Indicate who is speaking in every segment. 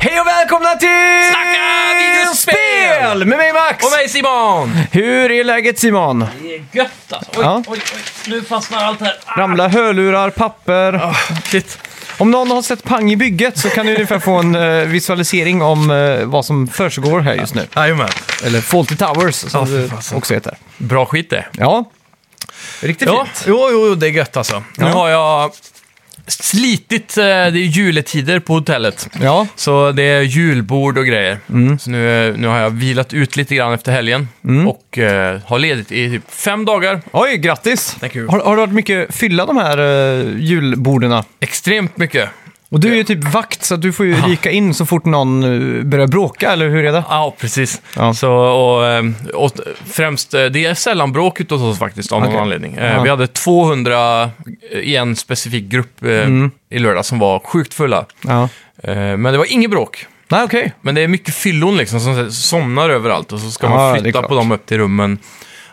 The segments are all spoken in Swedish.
Speaker 1: välkomna till
Speaker 2: Snacka videospel!
Speaker 1: Spel med mig Max!
Speaker 2: Och mig Simon!
Speaker 1: Hur är läget Simon?
Speaker 2: Det är gött alltså. Oj,
Speaker 1: Ja.
Speaker 2: oj, oj. Nu fastnar allt här. Ah,
Speaker 1: Ramla hörlurar, papper.
Speaker 2: shit.
Speaker 1: Om någon har sett Pang i bygget så kan ni ungefär få en eh, visualisering om eh, vad som försiggår här just nu.
Speaker 2: Jajamän.
Speaker 1: Eller Fawlty Towers som
Speaker 2: Ja, för
Speaker 1: det
Speaker 2: fasen.
Speaker 1: också heter.
Speaker 2: Bra skit det.
Speaker 1: Ja, riktigt
Speaker 2: Ja,
Speaker 1: fint.
Speaker 2: jo, jo, jo, det är gött alltså. Nu
Speaker 1: Ja.
Speaker 2: har jag slitit, eh, det är juletider på hotellet.
Speaker 1: Ja,
Speaker 2: Så det är julbord och grejer. Så nu, nu har jag vilat ut lite grann efter helgen och eh, har ledigt i typ fem dagar.
Speaker 1: oj, grattis!
Speaker 2: Tack, Hugo.
Speaker 1: Har, har det varit mycket fylla de här uh, julborden?
Speaker 2: Extremt mycket.
Speaker 1: Och du är ju typ vakt så att du får ju ryka in så fort någon eh, börjar bråka, eller hur är det?
Speaker 2: Ja, precis.
Speaker 1: Ja.
Speaker 2: Så, och, eh, och främst, eh, det är sällan bråk ute hos oss faktiskt av
Speaker 1: Okej.
Speaker 2: någon anledning. Eh,
Speaker 1: Ja.
Speaker 2: Vi hade 200 i en specifik grupp eh,
Speaker 1: Mm.
Speaker 2: i lördag som var sjukt fulla.
Speaker 1: Ja.
Speaker 2: Eh, Men det var inget bråk.
Speaker 1: Nej, okej.
Speaker 2: Men det är mycket fyllon liksom som somnar överallt och så ska
Speaker 1: Ja, det
Speaker 2: man
Speaker 1: är
Speaker 2: flytta
Speaker 1: klart.
Speaker 2: på dem upp till rummen.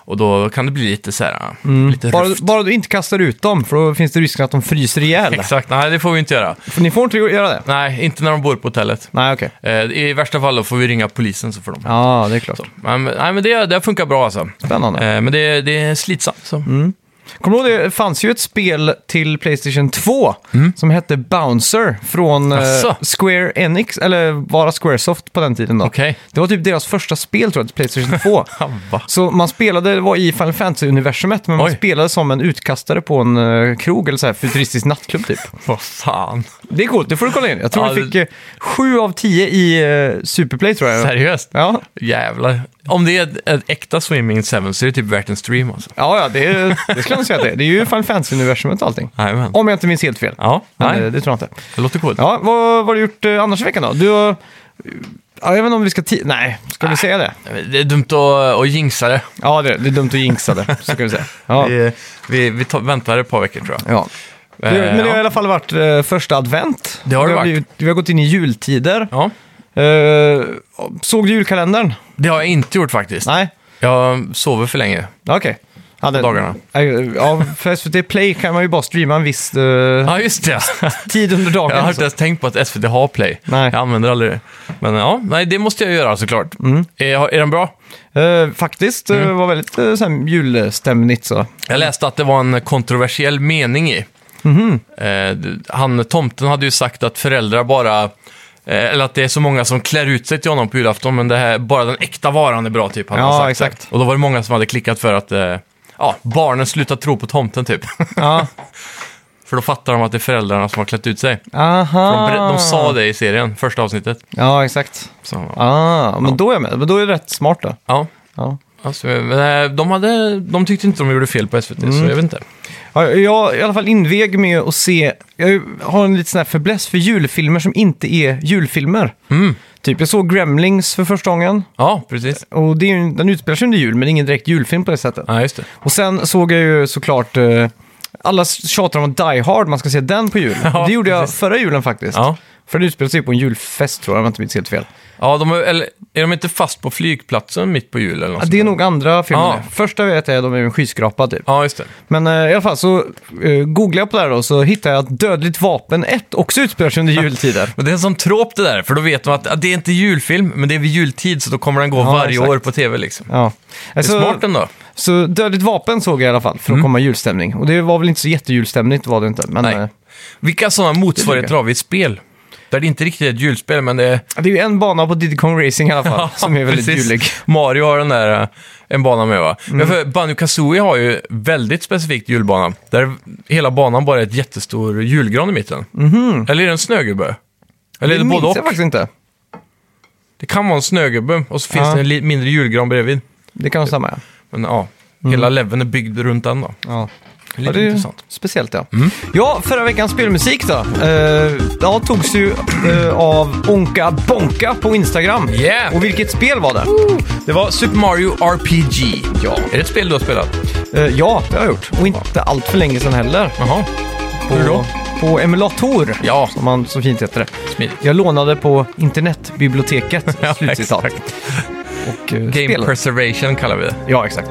Speaker 2: Och då kan det bli lite så här, ah, lite
Speaker 1: Mm. Bara,
Speaker 2: rufft.
Speaker 1: bara du inte kastar ut dem, för då finns det risken att de fryser ihjäl.
Speaker 2: Exakt, nej det får vi inte göra.
Speaker 1: För ni får inte göra det?
Speaker 2: Nej, inte när de bor på hotellet.
Speaker 1: Nej, okej.
Speaker 2: Eh, I värsta fall då får vi ringa polisen så får de.
Speaker 1: Ja, det är klart.
Speaker 2: Men, nej men det, det funkar bra alltså.
Speaker 1: Spännande.
Speaker 2: Eh, Men det, det är slitsamt. Så.
Speaker 1: Mm. Kommer du ihåg det fanns ju ett spel till Playstation 2 som hette Bouncer från eh,
Speaker 2: Mm. Jaså?
Speaker 1: Square Enix, eller bara Squaresoft på den tiden då.
Speaker 2: Okej.
Speaker 1: Det var typ deras första spel tror jag till Playstation 2.
Speaker 2: Va?
Speaker 1: Så man spelade, det var i Final Fantasy-universumet, men man
Speaker 2: Oj.
Speaker 1: spelade som en utkastare på en eh, krog eller så här futuristisk nattklubb typ.
Speaker 2: Vad fan.
Speaker 1: Det är coolt, det får du kolla in. Jag tror
Speaker 2: Ja,
Speaker 1: du
Speaker 2: det-
Speaker 1: fick eh, 7 av 10 i eh, Superplay tror jag.
Speaker 2: Seriöst?
Speaker 1: Ja.
Speaker 2: Jävlar. Om det är ett, ett äkta Swimming 7 så är det typ värt en stream alltså.
Speaker 1: Ja, ja, det, är- det skulle jag säga att det är. Det är ju Final Fantasy-universumet och allting.
Speaker 2: Jajamän.
Speaker 1: Om jag inte minns helt fel.
Speaker 2: Ja,
Speaker 1: Men
Speaker 2: nej.
Speaker 1: eh, det tror jag inte.
Speaker 2: Det låter coolt.
Speaker 1: Ja, vad, vad har du gjort eh, annars i veckan då? Du har... Ja, jag vet inte om vi ska... Ti- Nej, ska vi säga det?
Speaker 2: Det är dumt att, att jinxa det.
Speaker 1: Ja, det, det är dumt att jinxa det, så kan vi säga. Ja.
Speaker 2: Vi, vi, vi tar, väntar ett par veckor tror jag.
Speaker 1: Ja. Det,
Speaker 2: Eh,
Speaker 1: men det har i
Speaker 2: ja.
Speaker 1: alla fall varit eh, första advent.
Speaker 2: Det har det varit.
Speaker 1: blivit- vi har gått in i jultider.
Speaker 2: ja,
Speaker 1: Eh, såg du julkalendern?
Speaker 2: det har jag inte gjort faktiskt.
Speaker 1: Nej?
Speaker 2: Jag sover för länge.
Speaker 1: Ja, Okej. Ja, det-
Speaker 2: dagarna.
Speaker 1: Eh, Ja, för SVT Play kan man ju bara streama en viss eh,
Speaker 2: Ja, just det.
Speaker 1: tid under dagen.
Speaker 2: Jag har
Speaker 1: så.
Speaker 2: inte ens tänkt på att SVT har Play.
Speaker 1: Nej.
Speaker 2: Jag använder aldrig det. Men ja, nej, det måste jag göra såklart.
Speaker 1: Mm.
Speaker 2: Är, är den bra?
Speaker 1: Eh, faktiskt, mm. var väldigt eh, så här, julstämnigt så.
Speaker 2: Jag läste att det var en kontroversiell mening i.
Speaker 1: Mhm.
Speaker 2: Eh, d- han, tomten hade ju sagt att föräldrar bara... eh, Eller att det är så många som klär ut sig till honom på julafton, men det här, bara den äkta varan är bra, typ. hade Han
Speaker 1: Ja,
Speaker 2: sagt
Speaker 1: exakt.
Speaker 2: Och då var det många som hade klickat för att eh, ja, barnen slutar tro på tomten, typ.
Speaker 1: Ja,
Speaker 2: för då fattar de att det är föräldrarna som har klätt ut sig.
Speaker 1: aha.
Speaker 2: De, ber- de
Speaker 1: Ah.
Speaker 2: sa det i serien, första avsnittet.
Speaker 1: Ja, exakt.
Speaker 2: Så,
Speaker 1: Ah, men då är jag med. Men då är det rätt smart då.
Speaker 2: ja.
Speaker 1: Ja.
Speaker 2: Alltså, men, eh, de, hade, de tyckte inte de gjorde fel på SVT, så
Speaker 1: Mm.
Speaker 2: jag vet inte.
Speaker 1: Ja, Jag är i alla fall invig med att se, jag har en liten sån här fäbless för julfilmer som inte är julfilmer.
Speaker 2: Mm.
Speaker 1: Typ, jag såg Gremlings för första gången
Speaker 2: Ja, precis.
Speaker 1: och det är, ju- den utspelar sig under jul men det är ingen direkt julfilm på det sättet.
Speaker 2: Ja, just det.
Speaker 1: Och sen såg jag ju såklart, eh, alla tjatar om att Die Hard, man ska se den på jul.
Speaker 2: Ja,
Speaker 1: det gjorde jag
Speaker 2: precis.
Speaker 1: förra julen faktiskt.
Speaker 2: Ja.
Speaker 1: För den utspelar sig på en julfest tror jag, om jag inte minns helt fel.
Speaker 2: Ja, de är, eller, är de inte fast på flygplatsen mitt på jul eller något
Speaker 1: Ja,
Speaker 2: sånt
Speaker 1: det är
Speaker 2: där?
Speaker 1: nog andra filmer.
Speaker 2: Ja.
Speaker 1: Första jag vet är de är i en skyskrapa typ.
Speaker 2: Ja, just det.
Speaker 1: Men eh, i alla fall så eh, googlade jag på det här då, så hittade jag att Dödligt vapen 1 också utspelar sig under jultider.
Speaker 2: Men det är en sån tråp det där, för då vet de att, att det är inte julfilm, men det är vid jultid, så då kommer den gå
Speaker 1: Ja,
Speaker 2: varje
Speaker 1: exakt.
Speaker 2: år på tv liksom.
Speaker 1: Ja.
Speaker 2: Det är
Speaker 1: Alltså,
Speaker 2: smart ändå.
Speaker 1: så Dödligt vapen såg jag i alla fall för att komma i julstämning. Och det var väl inte så jättejulstämligt var det inte. Men
Speaker 2: Nej.
Speaker 1: eh,
Speaker 2: Vilka sådana motsvarigheter
Speaker 1: tycker
Speaker 2: har vi i spel? Där det inte riktigt är ett julspel, men det är...
Speaker 1: det är ju en bana på Diddy Kong Racing i alla fall som är väldigt
Speaker 2: Precis.
Speaker 1: julig.
Speaker 2: Mario har den där, eh, en bana med va? Men för Banjo Kazooie har ju väldigt specifikt julbana. Där hela banan bara är ett jättestor julgran i mitten. Eller är det en snögubbe? Eller är Mhm. det både
Speaker 1: minns
Speaker 2: och?
Speaker 1: jag faktiskt inte.
Speaker 2: Det kan vara en snögubbe, och så finns
Speaker 1: Ja.
Speaker 2: det en li- mindre julgran bredvid.
Speaker 1: Det kan nog stämma, ja.
Speaker 2: Men ja, hela leveln är byggd runt den då.
Speaker 1: Mm. ja.
Speaker 2: Lite
Speaker 1: Ja, det är ju
Speaker 2: intressant. Mm.
Speaker 1: speciellt ja. Ja, förra veckans spelmusik då. Eh, ja, togs ju eh, av Onka Bonka på Instagram.
Speaker 2: Yeah.
Speaker 1: Och vilket spel var det?
Speaker 2: Det var Super Mario RPG.
Speaker 1: Ja.
Speaker 2: Är det ett spel du har spelat?
Speaker 1: Eh, ja, det har jag gjort. Och inte allt för länge sedan heller.
Speaker 2: Jaha.
Speaker 1: På,
Speaker 2: Hur då?
Speaker 1: på emulator,
Speaker 2: Ja.
Speaker 1: som man så fint heter det.
Speaker 2: Smidigt.
Speaker 1: Jag lånade på internetbiblioteket,
Speaker 2: Ja,
Speaker 1: slutcitat.
Speaker 2: exakt.
Speaker 1: Och, eh,
Speaker 2: Game
Speaker 1: spelade.
Speaker 2: Preservation kallar vi det.
Speaker 1: Ja, exakt.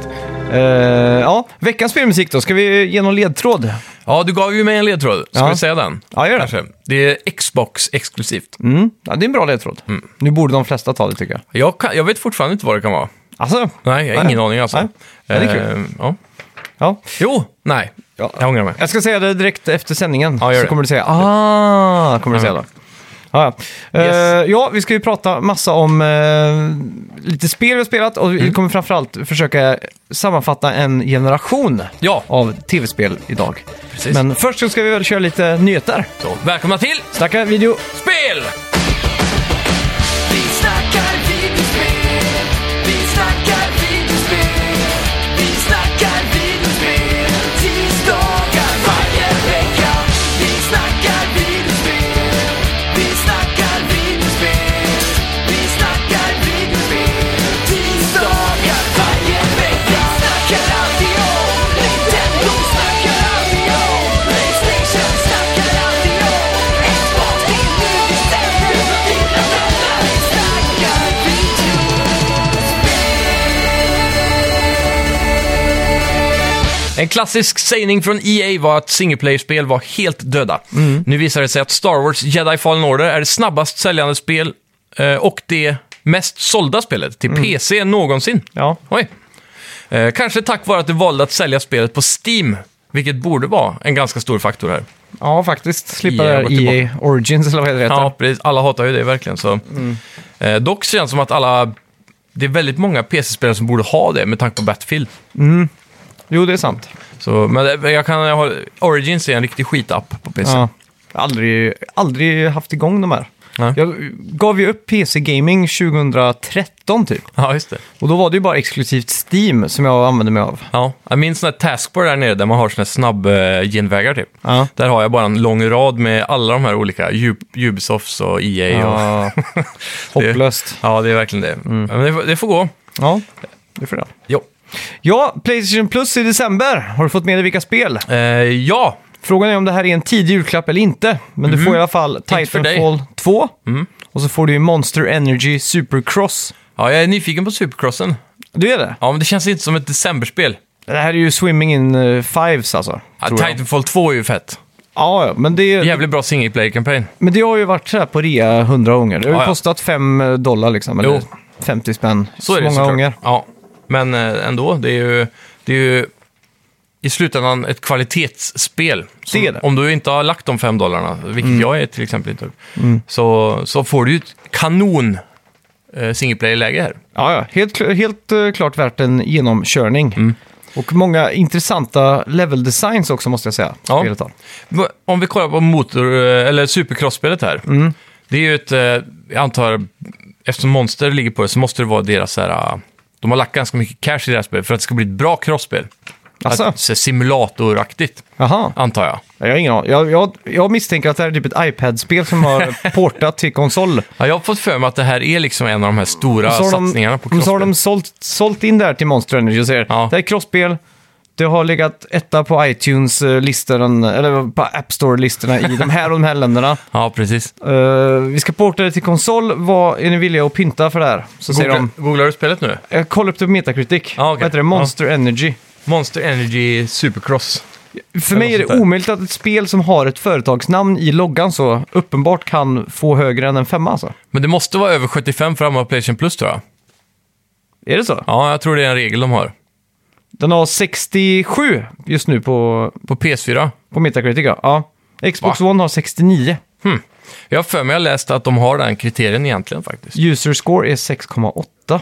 Speaker 1: Eh, ja, veckans spelmusik då. Ska vi ge någon ledtråd?
Speaker 2: Ja, du gav ju mig en ledtråd. Ska
Speaker 1: Ja.
Speaker 2: vi säga den?
Speaker 1: Ja, gör det.
Speaker 2: Kanske. Det är Xbox-exklusivt.
Speaker 1: Mm. Ja, det är en bra ledtråd.
Speaker 2: Mm.
Speaker 1: Nu borde de flesta ta det tycker jag.
Speaker 2: Jag, kan, jag vet fortfarande inte vad det kan vara.
Speaker 1: Alltså,
Speaker 2: Nej, jag har
Speaker 1: Nej.
Speaker 2: ingen aning alltså.
Speaker 1: Nej. Ja, det är kul.
Speaker 2: Eh, ja.
Speaker 1: ja.
Speaker 2: Jo, nej.
Speaker 1: Ja.
Speaker 2: Jag ångrar mig.
Speaker 1: Jag ska säga det direkt efter sändningen. så
Speaker 2: Ja, gör det. Mm.
Speaker 1: kommer du säga ah, kommer du säga då. Ja, ja. Eh,
Speaker 2: Yes.
Speaker 1: ja, vi ska ju prata massa om eh, lite spel vi har spelat och
Speaker 2: Mm.
Speaker 1: vi kommer framförallt försöka sammanfatta en generation
Speaker 2: Ja,
Speaker 1: av tv-spel idag.
Speaker 2: Precis.
Speaker 1: Men först så ska vi väl köra lite nyheter.
Speaker 2: så välkomna till
Speaker 1: Snacka video.
Speaker 2: spel!
Speaker 3: Vi snackar videospel, vi snackar videospel, vi snackar videospel, tisdagar varje vecka. Vi snackar videospel, vi snackar videospel, vi snackar videospel, tisdagar varje vecka. Snackar alltid om Nintendo, snackar alltid om Playstation, snackar alltid om Xbox, det är nu vi sänder för dina vänner. Vi snackar video.
Speaker 2: En klassisk sägning från EA var att singleplayer-spel var helt döda.
Speaker 1: Mm.
Speaker 2: Nu visar det sig att Star Wars Jedi Fallen Order är det snabbast säljande spel eh, och det mest sålda spelet till PC någonsin.
Speaker 1: Mm. Ja.
Speaker 2: Oj. Eh, Kanske tack vare att de valde att sälja spelet på Steam, vilket borde vara en ganska stor faktor här.
Speaker 1: ja, faktiskt. Slippa
Speaker 2: EA
Speaker 1: det
Speaker 2: var
Speaker 1: här
Speaker 2: tillbaka.
Speaker 1: EA Origins eller vad det heter.
Speaker 2: Ja, precis. Alla hatar ju det verkligen. Så.
Speaker 1: Mm.
Speaker 2: Eh, dock känns det som att alla... Det är väldigt många PC-spelare som borde ha det med tanke på Battlefield.
Speaker 1: Jo, det är sant.
Speaker 2: Så, men eh, jag kan... Jag har, Origins är en riktig skitapp på PC.
Speaker 1: Ja. Jag har Aldrig, aldrig haft igång de här.
Speaker 2: Nej.
Speaker 1: Jag gav ju upp PC-gaming 2013 typ.
Speaker 2: Ja, just det.
Speaker 1: Och då var det ju bara exklusivt Steam som jag använde mig av.
Speaker 2: Ja, jag minns sån här taskbar där nere där man har såna här snabb-genvägar typ.
Speaker 1: Ja.
Speaker 2: Där har jag bara en lång rad med alla de här olika, Ju- Ubisofts och EA och...
Speaker 1: Ja, hopplöst. Mm.
Speaker 2: Ja, det är verkligen det. Men det, får- det får gå.
Speaker 1: Ja, det får det.
Speaker 2: Jo.
Speaker 1: Ja, Playstation Plus i december. Har du fått med dig vilka spel?
Speaker 2: Eh, ja,
Speaker 1: Frågan är om det här är en tidig julklapp eller inte. Men du får i alla fall
Speaker 2: Mhm. för Mhm.
Speaker 1: Titanfall 2. Och så får du ju Monster Energy Supercross.
Speaker 2: ja, jag är nyfiken på Supercrossen.
Speaker 1: Du är det?
Speaker 2: Ja, men det känns inte som ett decemberspel.
Speaker 1: Det här är ju Swimming in eh, Fives alltså.
Speaker 2: Ja,
Speaker 1: tror jag.
Speaker 2: Titanfall 2 är ju fett.
Speaker 1: Ja, ja, men det,
Speaker 2: Jävligt bra single player campaign
Speaker 1: men det har ju varit så här på rea hundra gånger. Det har ju
Speaker 2: Ja, ja.
Speaker 1: kostat 5 dollar liksom. Eller
Speaker 2: Jo.
Speaker 1: 50 spänn. Så,
Speaker 2: Så, är det
Speaker 1: många
Speaker 2: såklart.
Speaker 1: gånger.
Speaker 2: Ja. Men eh, ändå, det är ju... Det är ju i slutändan ett kvalitetsspel. Som,
Speaker 1: Det är det. Mm.
Speaker 2: Om du inte har lagt de fem dollarna, vilket jag är till exempel inte, så, så får du ju ett kanon eh, single player-läge här.
Speaker 1: Ja, ja. Helt, kl- helt eh, klart värt en genomkörning.
Speaker 2: Mm.
Speaker 1: Och många intressanta level designs också måste jag säga.
Speaker 2: Ja.
Speaker 1: Spelet har.
Speaker 2: Va- Om vi kollar på motor, eh, eller supercross-spelet här.
Speaker 1: Mm.
Speaker 2: Det är ju ett, eh, jag antar, eftersom Monster ligger på det så måste det vara deras så här, ah, de har lagt ganska mycket cash i deras spel för att det ska bli ett bra crossspel.
Speaker 1: Alltså?
Speaker 2: Att- så Simulatoraktigt,
Speaker 1: Jaha,
Speaker 2: antar jag.
Speaker 1: jag har ingen aning. Jag, jag, jag misstänker att det här är typ ett iPad-spel som har portat till konsol.
Speaker 2: Ja, jag har fått för mig att det här är liksom en av de här stora
Speaker 1: Så har de,
Speaker 2: satsningarna på
Speaker 1: så har
Speaker 2: crossspel.
Speaker 1: de sålt, sålt in det här till Monster Energy och säger
Speaker 2: Ja.
Speaker 1: det här är crossspel. Det har legat etta på iTunes-listan, eller på App Store-listorna i de här och de här länderna.
Speaker 2: Ja, precis.
Speaker 1: Eh, vi ska porta det till konsol. Vad är ni villiga att pynta för det här? Så säger
Speaker 2: Googlar,
Speaker 1: de,
Speaker 2: googlar du spelet nu?
Speaker 1: jag kollar upp det på Metacritic.
Speaker 2: Ja, okej.
Speaker 1: Vad heter det? Monster Energy.
Speaker 2: Monster Energy Supercross.
Speaker 1: För
Speaker 2: Eller
Speaker 1: mig är
Speaker 2: något
Speaker 1: det
Speaker 2: sånt där.
Speaker 1: omöjligt att ett spel som har ett företagsnamn i loggan så uppenbart kan få högre än en femma alltså.
Speaker 2: Men det måste vara över 75 för att använda Playstation Plus, tror jag.
Speaker 1: Är det så?
Speaker 2: Ja, jag tror det är en regel de har.
Speaker 1: Den har 67 just nu på,
Speaker 2: På PS4.
Speaker 1: på Metacritic. Ja. Ja. Xbox One har 69.
Speaker 2: Jag har för mig att jag läst att de har den kriterien egentligen faktiskt.
Speaker 1: User score är 6,8.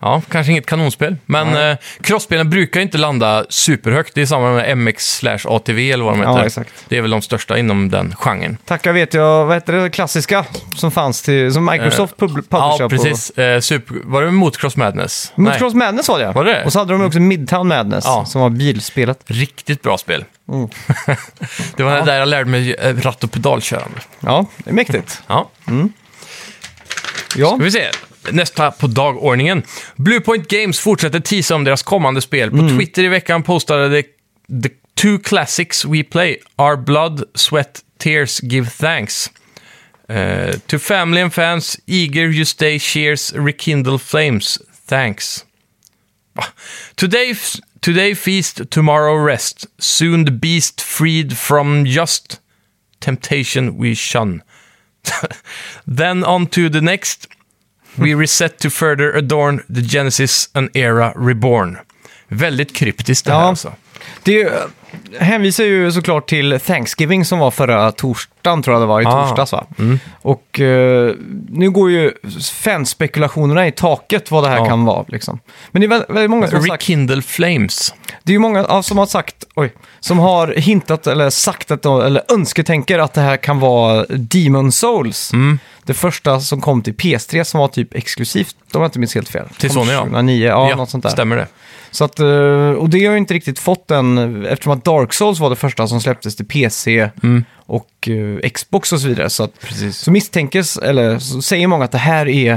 Speaker 2: Ja, kanske inget kanonspel. Men eh, crossspelen brukar inte landa superhögt. Det är samma med MX slash ATV eller vad de
Speaker 1: Ja,
Speaker 2: heter.
Speaker 1: exakt.
Speaker 2: Det är väl de största inom den genren.
Speaker 1: Tacka vet jag, vad heter det klassiska som fanns till, som Microsoft pub- publicerade
Speaker 2: Eh, Ja, precis. Eh, super... Var det Motocross Madness?
Speaker 1: på.
Speaker 2: Nej.
Speaker 1: Motocross Madness var det,
Speaker 2: Var det?
Speaker 1: Och så hade de också Midtown Madness
Speaker 2: Ja.
Speaker 1: som var bilspelet.
Speaker 2: Riktigt bra spel. det var där jag lärde mig eh, ratt och pedalkörande.
Speaker 1: Ja, det är mäktigt.
Speaker 2: Ja.
Speaker 1: Ja.
Speaker 2: Mm. Ska vi se. Nästa på dagordningen. Bluepoint Games fortsätter tisa om deras kommande spel. På Twitter i veckan postade de The Two Classics We Play Our Blood, Sweat, Tears Give Thanks. Eh, to family and fans, eager you stay, cheers, rekindle flames, thanks. Va? Today, Today feast, tomorrow rest. Soon the beast freed from just temptation we shun. then on to the next. We reset to further adorn the Genesis an era reborn. Väldigt kryptiskt det här
Speaker 1: Ja.
Speaker 2: alltså.
Speaker 1: Det eh, hänvisar ju såklart till Thanksgiving som var förra torsdagen, tror jag det var, i
Speaker 2: Ah.
Speaker 1: torsdags va? Och eh, nu går ju fanspekulationerna i taket vad det här
Speaker 2: Ja.
Speaker 1: kan vara. Liksom. Men det är väldigt, väldigt många som har sagt...
Speaker 2: Rekindle Flames.
Speaker 1: Det är ju många ja, som har sagt, oj, som har hintat eller sagt att de, eller önsketänker att det här kan vara Demon Souls.
Speaker 2: Mm.
Speaker 1: Det första som kom till PS3 som var typ exklusivt, om jag inte minns helt fel.
Speaker 2: Till
Speaker 1: Kom
Speaker 2: Sony, ja.
Speaker 1: 2009, ja, något sånt där.
Speaker 2: stämmer det.
Speaker 1: Så att, eh, och det har ju inte riktigt fått den, eftersom att Dark Souls var det första som släpptes till PC
Speaker 2: Mm.
Speaker 1: och eh, Xbox och så vidare. Så, att, så misstänkes, eller så säger många att det här är,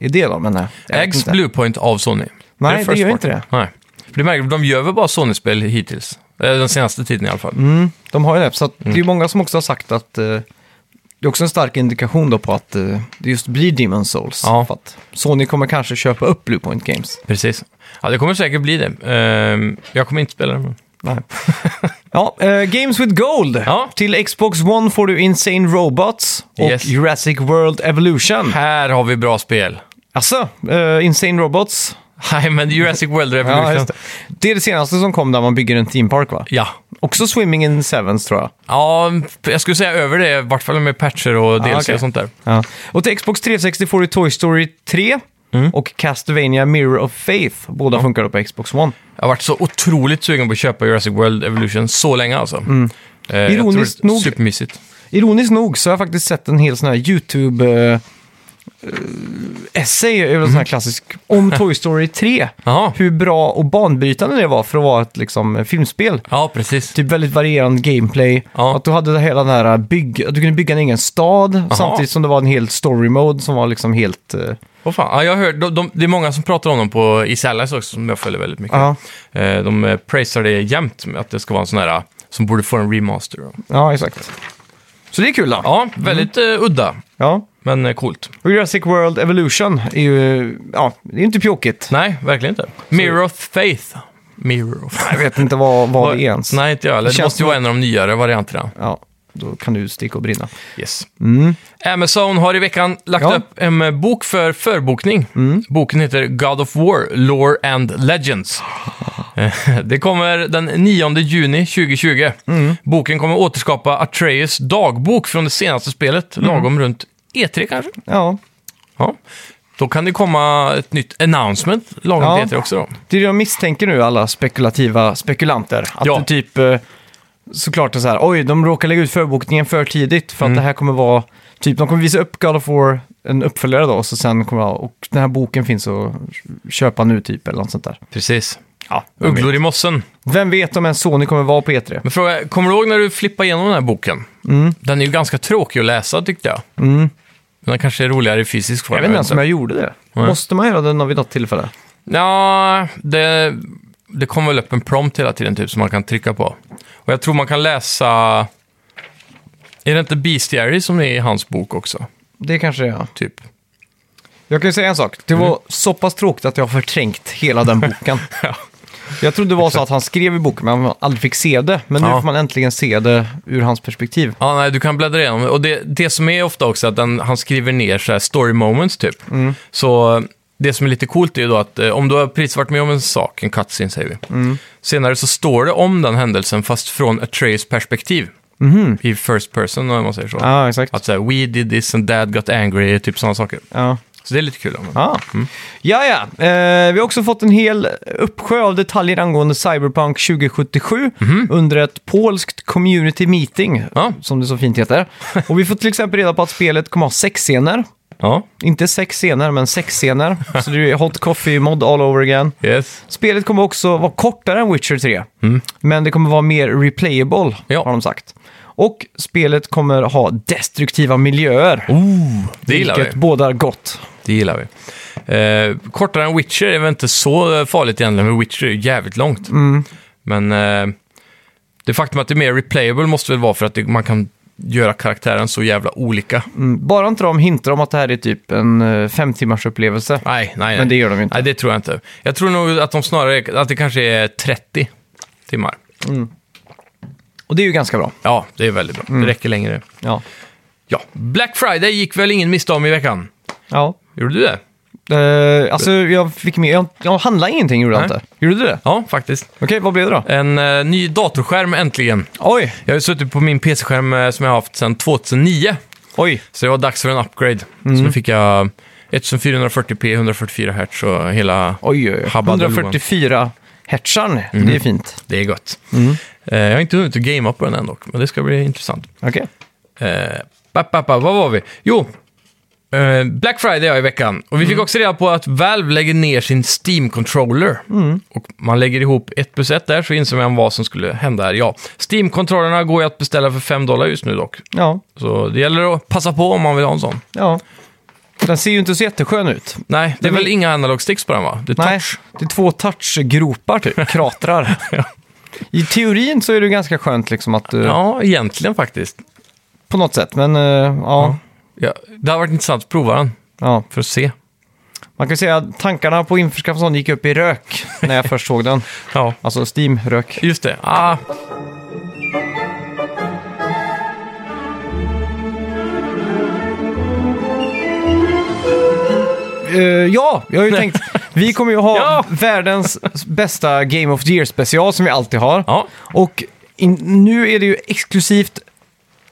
Speaker 1: är det då, men nej. jag vet
Speaker 2: Ägs
Speaker 1: inte.
Speaker 2: Bluepoint av Sony?
Speaker 1: Nej,
Speaker 2: Är
Speaker 1: det
Speaker 2: first
Speaker 1: gör
Speaker 2: party?
Speaker 1: inte det.
Speaker 2: Nej. För det märker, de gör väl bara Sony-spel hittills? Eh, Den senaste tiden i alla fall.
Speaker 1: De har ju det, så att
Speaker 2: Mm.
Speaker 1: det är många som också har sagt att eh, det är också en stark indikation då på att eh, det just blir Demon Souls.
Speaker 2: Ja.
Speaker 1: För att Sony kommer kanske köpa upp Bluepoint Games.
Speaker 2: Precis. Ja, det kommer säkert bli det. Ehm, jag kommer inte spela det. men-
Speaker 1: Nej. ja, eh, Games with Gold.
Speaker 2: Ja.
Speaker 1: Till Xbox One får du Insane Robots och
Speaker 2: Yes.
Speaker 1: Jurassic World Evolution.
Speaker 2: Här har vi bra spel.
Speaker 1: Alltså, eh, Insane Robots.
Speaker 2: Nej, men Jurassic World Revolution. Ja,
Speaker 1: det. det är det senaste som kom där man bygger en theme park va?
Speaker 2: ja.
Speaker 1: Också Swimming in Sevens tror jag.
Speaker 2: jag skulle säga över det, i vart fall med patcher och DLC
Speaker 1: okej.
Speaker 2: och sånt där.
Speaker 1: Ja. Och till Xbox 360 får du Toy Story 3
Speaker 2: Mm.
Speaker 1: och Castlevania Mirror of Faith. Båda funkar då på Xbox One.
Speaker 2: Jag har varit så otroligt sugen på att köpa Jurassic World Evolution så länge alltså. Mm. Uh,
Speaker 1: Ironiskt nog-
Speaker 2: Supermysigt.
Speaker 1: Ironiskt nog så har jag faktiskt sett en hel sån här YouTube... eh, eh, essay över en sån här klassisk om Toy Story 3.
Speaker 2: Mm. Jaha.
Speaker 1: Hur bra och banbrytande det var för att vara ett liksom, filmspel.
Speaker 2: Ja, precis.
Speaker 1: Typ väldigt varierande gameplay.
Speaker 2: Ja.
Speaker 1: Att du hade det hela den här eh, bygg... att Du kunde bygga en egen stad samtidigt som det var en hel story mode som var liksom helt... eh,
Speaker 2: Åh fan. Ja, jag hör, de, de, det är många som pratar om dem på Easy Allies också, som jag följer väldigt mycket.
Speaker 1: Ja.
Speaker 2: Eh, de eh, praisar det jämt, med att det ska vara en sån här eh, som borde få en remaster.
Speaker 1: ja, exakt. Så det är kul då.
Speaker 2: Ja, väldigt
Speaker 1: Mm.
Speaker 2: eh, udda,
Speaker 1: Ja.
Speaker 2: men eh, coolt.
Speaker 1: Och Jurassic World Evolution är ju... Ja, det är ju inte pjåkigt.
Speaker 2: Nej, verkligen inte. Mirror of Faith. Mirror of...
Speaker 1: Jag vet inte vad, vad det är ens.
Speaker 2: Nej, inte jag heller.
Speaker 1: Det
Speaker 2: Det
Speaker 1: känns
Speaker 2: måste ju
Speaker 1: som-
Speaker 2: vara en av de nyare varianterna.
Speaker 1: Ja, då kan du sticka och brinna.
Speaker 2: Yes. Amazon har i veckan lagt
Speaker 1: Ja. Mm.
Speaker 2: upp en eh, bok för förbokning. Boken heter God of War, Lore and Legends. Eh, Det kommer den 9 juni 2020.
Speaker 1: Mm.
Speaker 2: Boken kommer återskapa Atreus dagbok från det senaste spelet, lagom runt E3 kanske.
Speaker 1: Mm. Ja,
Speaker 2: Ja. Då kan det komma ett nytt announcement lagom
Speaker 1: Ja.
Speaker 2: till E3 också. Då.
Speaker 1: Det är det jag misstänker nu, alla spekulativa spekulanter. Att
Speaker 2: Ja.
Speaker 1: det typ, eh, såklart är så här, oj, de råkar lägga ut förbokningen för tidigt för att det här kommer vara, typ, de kommer visa upp God of War, en uppföljare då, och så sen kommer jag, och den här boken finns att köpa nu typ, eller något sånt där.
Speaker 2: Precis.
Speaker 1: Ja, vem vet.
Speaker 2: Ugglor i mossen.
Speaker 1: Vem vet om en Sony kommer vara på E E3?
Speaker 2: Men fråga, kommer du ihåg när du flippade igenom den här boken?
Speaker 1: Mm.
Speaker 2: Den är ju ganska tråkig att läsa tyckte jag. Den kanske är roligare i fysisk form.
Speaker 1: Jag vet inte ens om
Speaker 2: inte.
Speaker 1: jag gjorde det.
Speaker 2: Nej.
Speaker 1: Måste man göra det vid något tillfälle?
Speaker 2: Ja, det, det kommer väl upp en prompt hela tiden typ, som man kan trycka på. Och jag tror man kan läsa... Är det inte Bestiary som är i hans bok också?
Speaker 1: Det kanske jag.
Speaker 2: Typ.
Speaker 1: Jag kan ju säga en sak. Det var
Speaker 2: Mm.
Speaker 1: så pass tråkigt att jag har förträngt hela den boken.
Speaker 2: Ja.
Speaker 1: Jag trodde det var så att han skrev i boken, men man aldrig fick se det. Men nu
Speaker 2: Ja.
Speaker 1: får man äntligen se det ur hans perspektiv.
Speaker 2: Ja, nej, du kan bläddra igenom. Och det, det som är ofta också att den, han skriver ner så här story moments typ.
Speaker 1: Mm.
Speaker 2: Så eh, det som är lite coolt är ju då att eh, om du har precis varit med om en sak, en cutscene säger vi.
Speaker 1: Mm.
Speaker 2: Senare så står det om den händelsen fast från Atreus perspektiv. I first person om man säger så.
Speaker 1: Mhm. Ja, exakt.
Speaker 2: Att så här, we did this and dad got angry, typ sådana saker.
Speaker 1: Ja.
Speaker 2: Så det är lite kul. Om ja.
Speaker 1: Ah. Ja, ja. Eh, vi har också fått en hel uppsjö av detaljer angående Cyberpunk 2077 under ett polskt community meeting,
Speaker 2: Mhm. Ja.
Speaker 1: som det så fint heter. Och vi får till exempel reda på att spelet kommer ha sex scener.
Speaker 2: ja,
Speaker 1: Inte sex scener, men sex scener. Så det är hot coffee mod all over again.
Speaker 2: yes.
Speaker 1: Spelet kommer också vara kortare än Witcher 3, men det kommer vara mer replayable,
Speaker 2: Mm. Ja.
Speaker 1: har de sagt. Och spelet kommer ha destruktiva miljöer,
Speaker 2: Oh, Det gillar
Speaker 1: vilket
Speaker 2: vi.
Speaker 1: bådar gott.
Speaker 2: Det gillar vi. Eh, kortare än Witcher är väl inte så eh, farligt egentligen, för Witcher är ju jävligt
Speaker 1: Mm.
Speaker 2: långt. Men eh, det faktum att det är mer replayable måste väl vara för att det, man kan göra karaktären så jävla olika.
Speaker 1: Mm, Bara inte de hintar om att det här är typ en eh, fem timmars upplevelse.
Speaker 2: Nej, nej, nej.
Speaker 1: Men det gör de ju inte.
Speaker 2: Nej, det tror jag inte. Jag tror nog att de snarare, att det kanske är 30 timmar.
Speaker 1: Och det är ju ganska bra.
Speaker 2: Ja, det är väldigt bra.
Speaker 1: Mm.
Speaker 2: Det räcker längre.
Speaker 1: Ja.
Speaker 2: Ja, Black Friday gick väl ingen miste om i veckan?
Speaker 1: ja.
Speaker 2: Gjorde du det?
Speaker 1: Eh, alltså jag fick med, jag, jag handlade ingenting gjorde jag
Speaker 2: Nej.
Speaker 1: inte. Gjorde du det?
Speaker 2: Ja, faktiskt.
Speaker 1: Okej, vad blev det då?
Speaker 2: En eh, ny datorskärm äntligen.
Speaker 1: Oj,
Speaker 2: Jag har ju suttit på min PC-skärm eh, som jag har haft sedan 2009.
Speaker 1: oj.
Speaker 2: Så det var dags för en upgrade.
Speaker 1: Mm.
Speaker 2: Så nu fick jag 1440p, 144 Hz och hela...
Speaker 1: Oj, oj, oj.
Speaker 2: Habbadelon.
Speaker 1: 144 hertzan. Det
Speaker 2: Mhm.
Speaker 1: är fint.
Speaker 2: Det är gött.
Speaker 1: Mm.
Speaker 2: Eh, jag har inte hunnit att gamea på den än dock, men det ska bli intressant.
Speaker 1: Okej.
Speaker 2: Eh, papp, papp, papp, vad var vi? Jo, eh, Black Friday är i veckan. Och vi
Speaker 1: Mm.
Speaker 2: fick också reda på att Valve lägger ner sin Steam-controller.
Speaker 1: Mm.
Speaker 2: Och man lägger ihop ett plus ett där så inser man vad som skulle hända här. Ja, Steam-controllerna går ju att beställa för 5 dollar just nu dock.
Speaker 1: Ja,
Speaker 2: Så det gäller att passa på om man vill ha en sån.
Speaker 1: ja. Den ser ju inte så jätteskön ut.
Speaker 2: Nej, det är
Speaker 1: Men
Speaker 2: väl
Speaker 1: vi-
Speaker 2: inga analog sticks på den va? Det är
Speaker 1: Nej,
Speaker 2: touch.
Speaker 1: det är två touchgropar typ, kratrar. I teorin så är det ganska skönt liksom att, eh,
Speaker 2: Ja, egentligen faktiskt.
Speaker 1: på något sätt, men eh, ja,
Speaker 2: Ja, det har varit intressant att prova den
Speaker 1: ja.
Speaker 2: för att se.
Speaker 1: Man kan ju säga att tankarna på att införskaffa en sån gick upp i rök när jag först såg den.
Speaker 2: Ja,
Speaker 1: Alltså Steam-rök.
Speaker 2: just det. Ah,
Speaker 1: Eh, ja, jag har ju tänkt, vi kommer ju ha
Speaker 2: Ja.
Speaker 1: världens bästa Game of the Year-special som vi alltid har.
Speaker 2: ja.
Speaker 1: Och in, nu är det ju exklusivt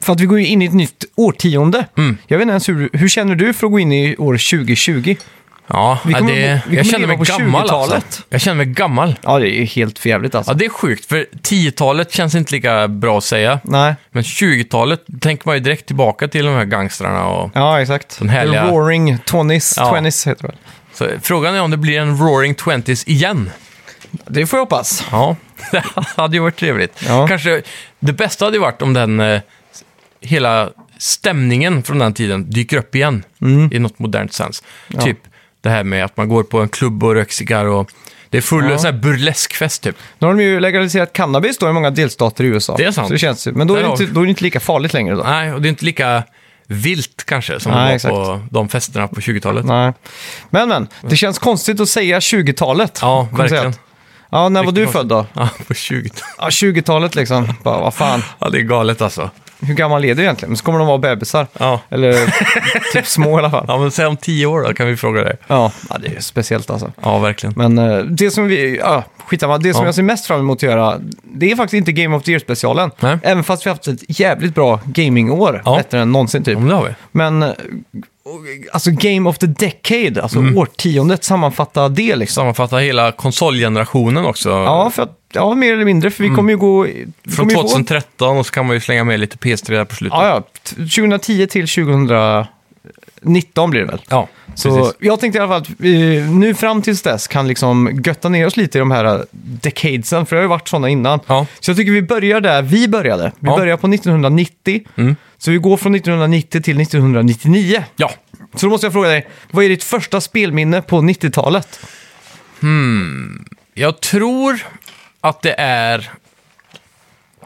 Speaker 1: för att vi går ju in i ett nytt årtionde. Jag vet inte ens hur, hur känner du för att gå in i år 2020?
Speaker 2: Ja,
Speaker 1: Vi
Speaker 2: ja,
Speaker 1: kommer
Speaker 2: det,
Speaker 1: bo- vi kommer
Speaker 2: jag känner mig
Speaker 1: leva på
Speaker 2: gammal
Speaker 1: 20-talet.
Speaker 2: alltså. Jag känner mig gammal.
Speaker 1: Ja, det är ju helt förjävligt alltså.
Speaker 2: Ja, det är sjukt, för 10-talet känns inte lika bra att säga.
Speaker 1: Nej.
Speaker 2: Men 20-talet tänker man ju direkt tillbaka till de här gangstrarna. Och...
Speaker 1: Ja, exakt.
Speaker 2: Den härliga-
Speaker 1: The Roaring Twenties,
Speaker 2: Ja.
Speaker 1: Twenties heter det väl?
Speaker 2: Så frågan är om det blir en Roaring Twenties igen.
Speaker 1: Det får jag hoppas.
Speaker 2: Ja, det hade ju varit trevligt.
Speaker 1: Ja.
Speaker 2: Kanske det bästa hade ju varit om den eh, hela stämningen från den tiden dyker upp igen
Speaker 1: Mm.
Speaker 2: i något modernt sens. Typ det här med att man går på en klubb och röker cigarr och det är full
Speaker 1: Ja.
Speaker 2: sån här burleskfest typ.
Speaker 1: Nu har de ju legaliserat cannabis då i många delstater i USA.
Speaker 2: Det är sant.
Speaker 1: Så det känns ju. Men då är,
Speaker 2: Där
Speaker 1: det
Speaker 2: har
Speaker 1: inte,
Speaker 2: vi.
Speaker 1: då är det inte lika farligt längre då.
Speaker 2: Nej, och det är inte lika vilt kanske som
Speaker 1: Nej,
Speaker 2: det var
Speaker 1: exakt.
Speaker 2: på de festerna på 20-talet.
Speaker 1: Nej. Men men, det känns konstigt att säga 20-talet.
Speaker 2: Ja,
Speaker 1: Kan man säga
Speaker 2: verkligen.
Speaker 1: att- Ja, när var du
Speaker 2: Riktigt
Speaker 1: född då?
Speaker 2: Ja, på 20-talet.
Speaker 1: Ja, 20-talet liksom. Bara, vad fan,
Speaker 2: Ja, det är galet alltså.
Speaker 1: hur gammal är du egentligen? Men så kommer de vara bebisar.
Speaker 2: Ja.
Speaker 1: Eller typ små i alla fall.
Speaker 2: Ja, men säg om 10 år då kan vi fråga dig.
Speaker 1: Ja, ja det är ju speciellt alltså.
Speaker 2: Ja, verkligen.
Speaker 1: Men eh, det som vi, ja, skitsamma, det som
Speaker 2: Ja.
Speaker 1: jag ser mest fram emot att göra, det är faktiskt inte Game of the Year-specialen.
Speaker 2: Nej.
Speaker 1: Även fast vi har haft ett jävligt bra gamingår,
Speaker 2: Ja.
Speaker 1: bättre än någonsin typ.
Speaker 2: Om det har vi.
Speaker 1: Men eh, alltså Game of the Decade, alltså
Speaker 2: Mm.
Speaker 1: årtiondet, sammanfatta det liksom.
Speaker 2: Sammanfatta hela konsolgenerationen också.
Speaker 1: Ja, för att, ja, mer eller mindre, för vi kommer ju gå... vi
Speaker 2: Mm. Från
Speaker 1: kommer ju få-
Speaker 2: 2013 och så kan man ju slänga med lite PS3 där på slutet.
Speaker 1: Ja, ja, t- 2010 till 2019 blir det väl.
Speaker 2: ja
Speaker 1: Så
Speaker 2: precis.
Speaker 1: jag tänkte i alla fall att vi nu fram tills dess kan liksom götta ner oss lite i de här äh, decadesen, för det har ju varit sådana innan.
Speaker 2: Ja.
Speaker 1: Så jag tycker vi börjar där vi började. Vi
Speaker 2: Ja. Mm.
Speaker 1: börjar på 1990, så vi går från 1990 till 1999.
Speaker 2: Ja.
Speaker 1: Så då måste jag fråga dig, vad är ditt första spelminne på 90-talet?
Speaker 2: Jag tror att det är...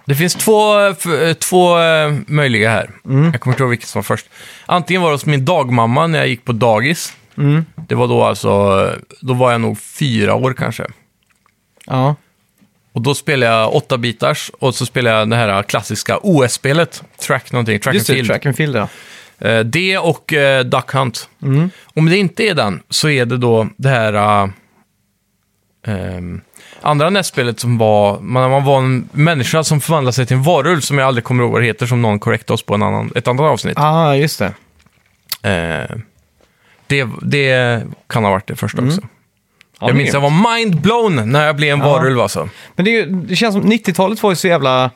Speaker 2: Det finns två, f- eh, två eh, möjliga här. Jag kommer inte ihåg vilket som var först. Antingen var det hos min dagmamma när jag gick på dagis. Det var då alltså... eh, Då var jag nog fyra år kanske.
Speaker 1: Ja.
Speaker 2: Och då spelade jag åtta bitars och så spelade jag det här klassiska OS-spelet. Track någonting, Track
Speaker 1: Just
Speaker 2: and
Speaker 1: det,
Speaker 2: Field.
Speaker 1: Track and Field ja.
Speaker 2: Eh, det och eh, Duck Hunt.
Speaker 1: Mm.
Speaker 2: Om det inte är den så är det då det här eh, ehm, andra nästspelet som var, man, man var en människa som förvandlade sig till en varulv som jag aldrig kommer ihåg vad det heter, som någon korrektade oss på en annan, ett annat avsnitt.
Speaker 1: Ah, just det. Ah.
Speaker 2: Eh, det, det kan ha varit det första också.
Speaker 1: Mm. Ja,
Speaker 2: jag
Speaker 1: men
Speaker 2: minns
Speaker 1: grymt.
Speaker 2: jag var mind-blown när jag blev en varulv alltså.
Speaker 1: Men det, är ju- det känns som 90-talet var ju så jävla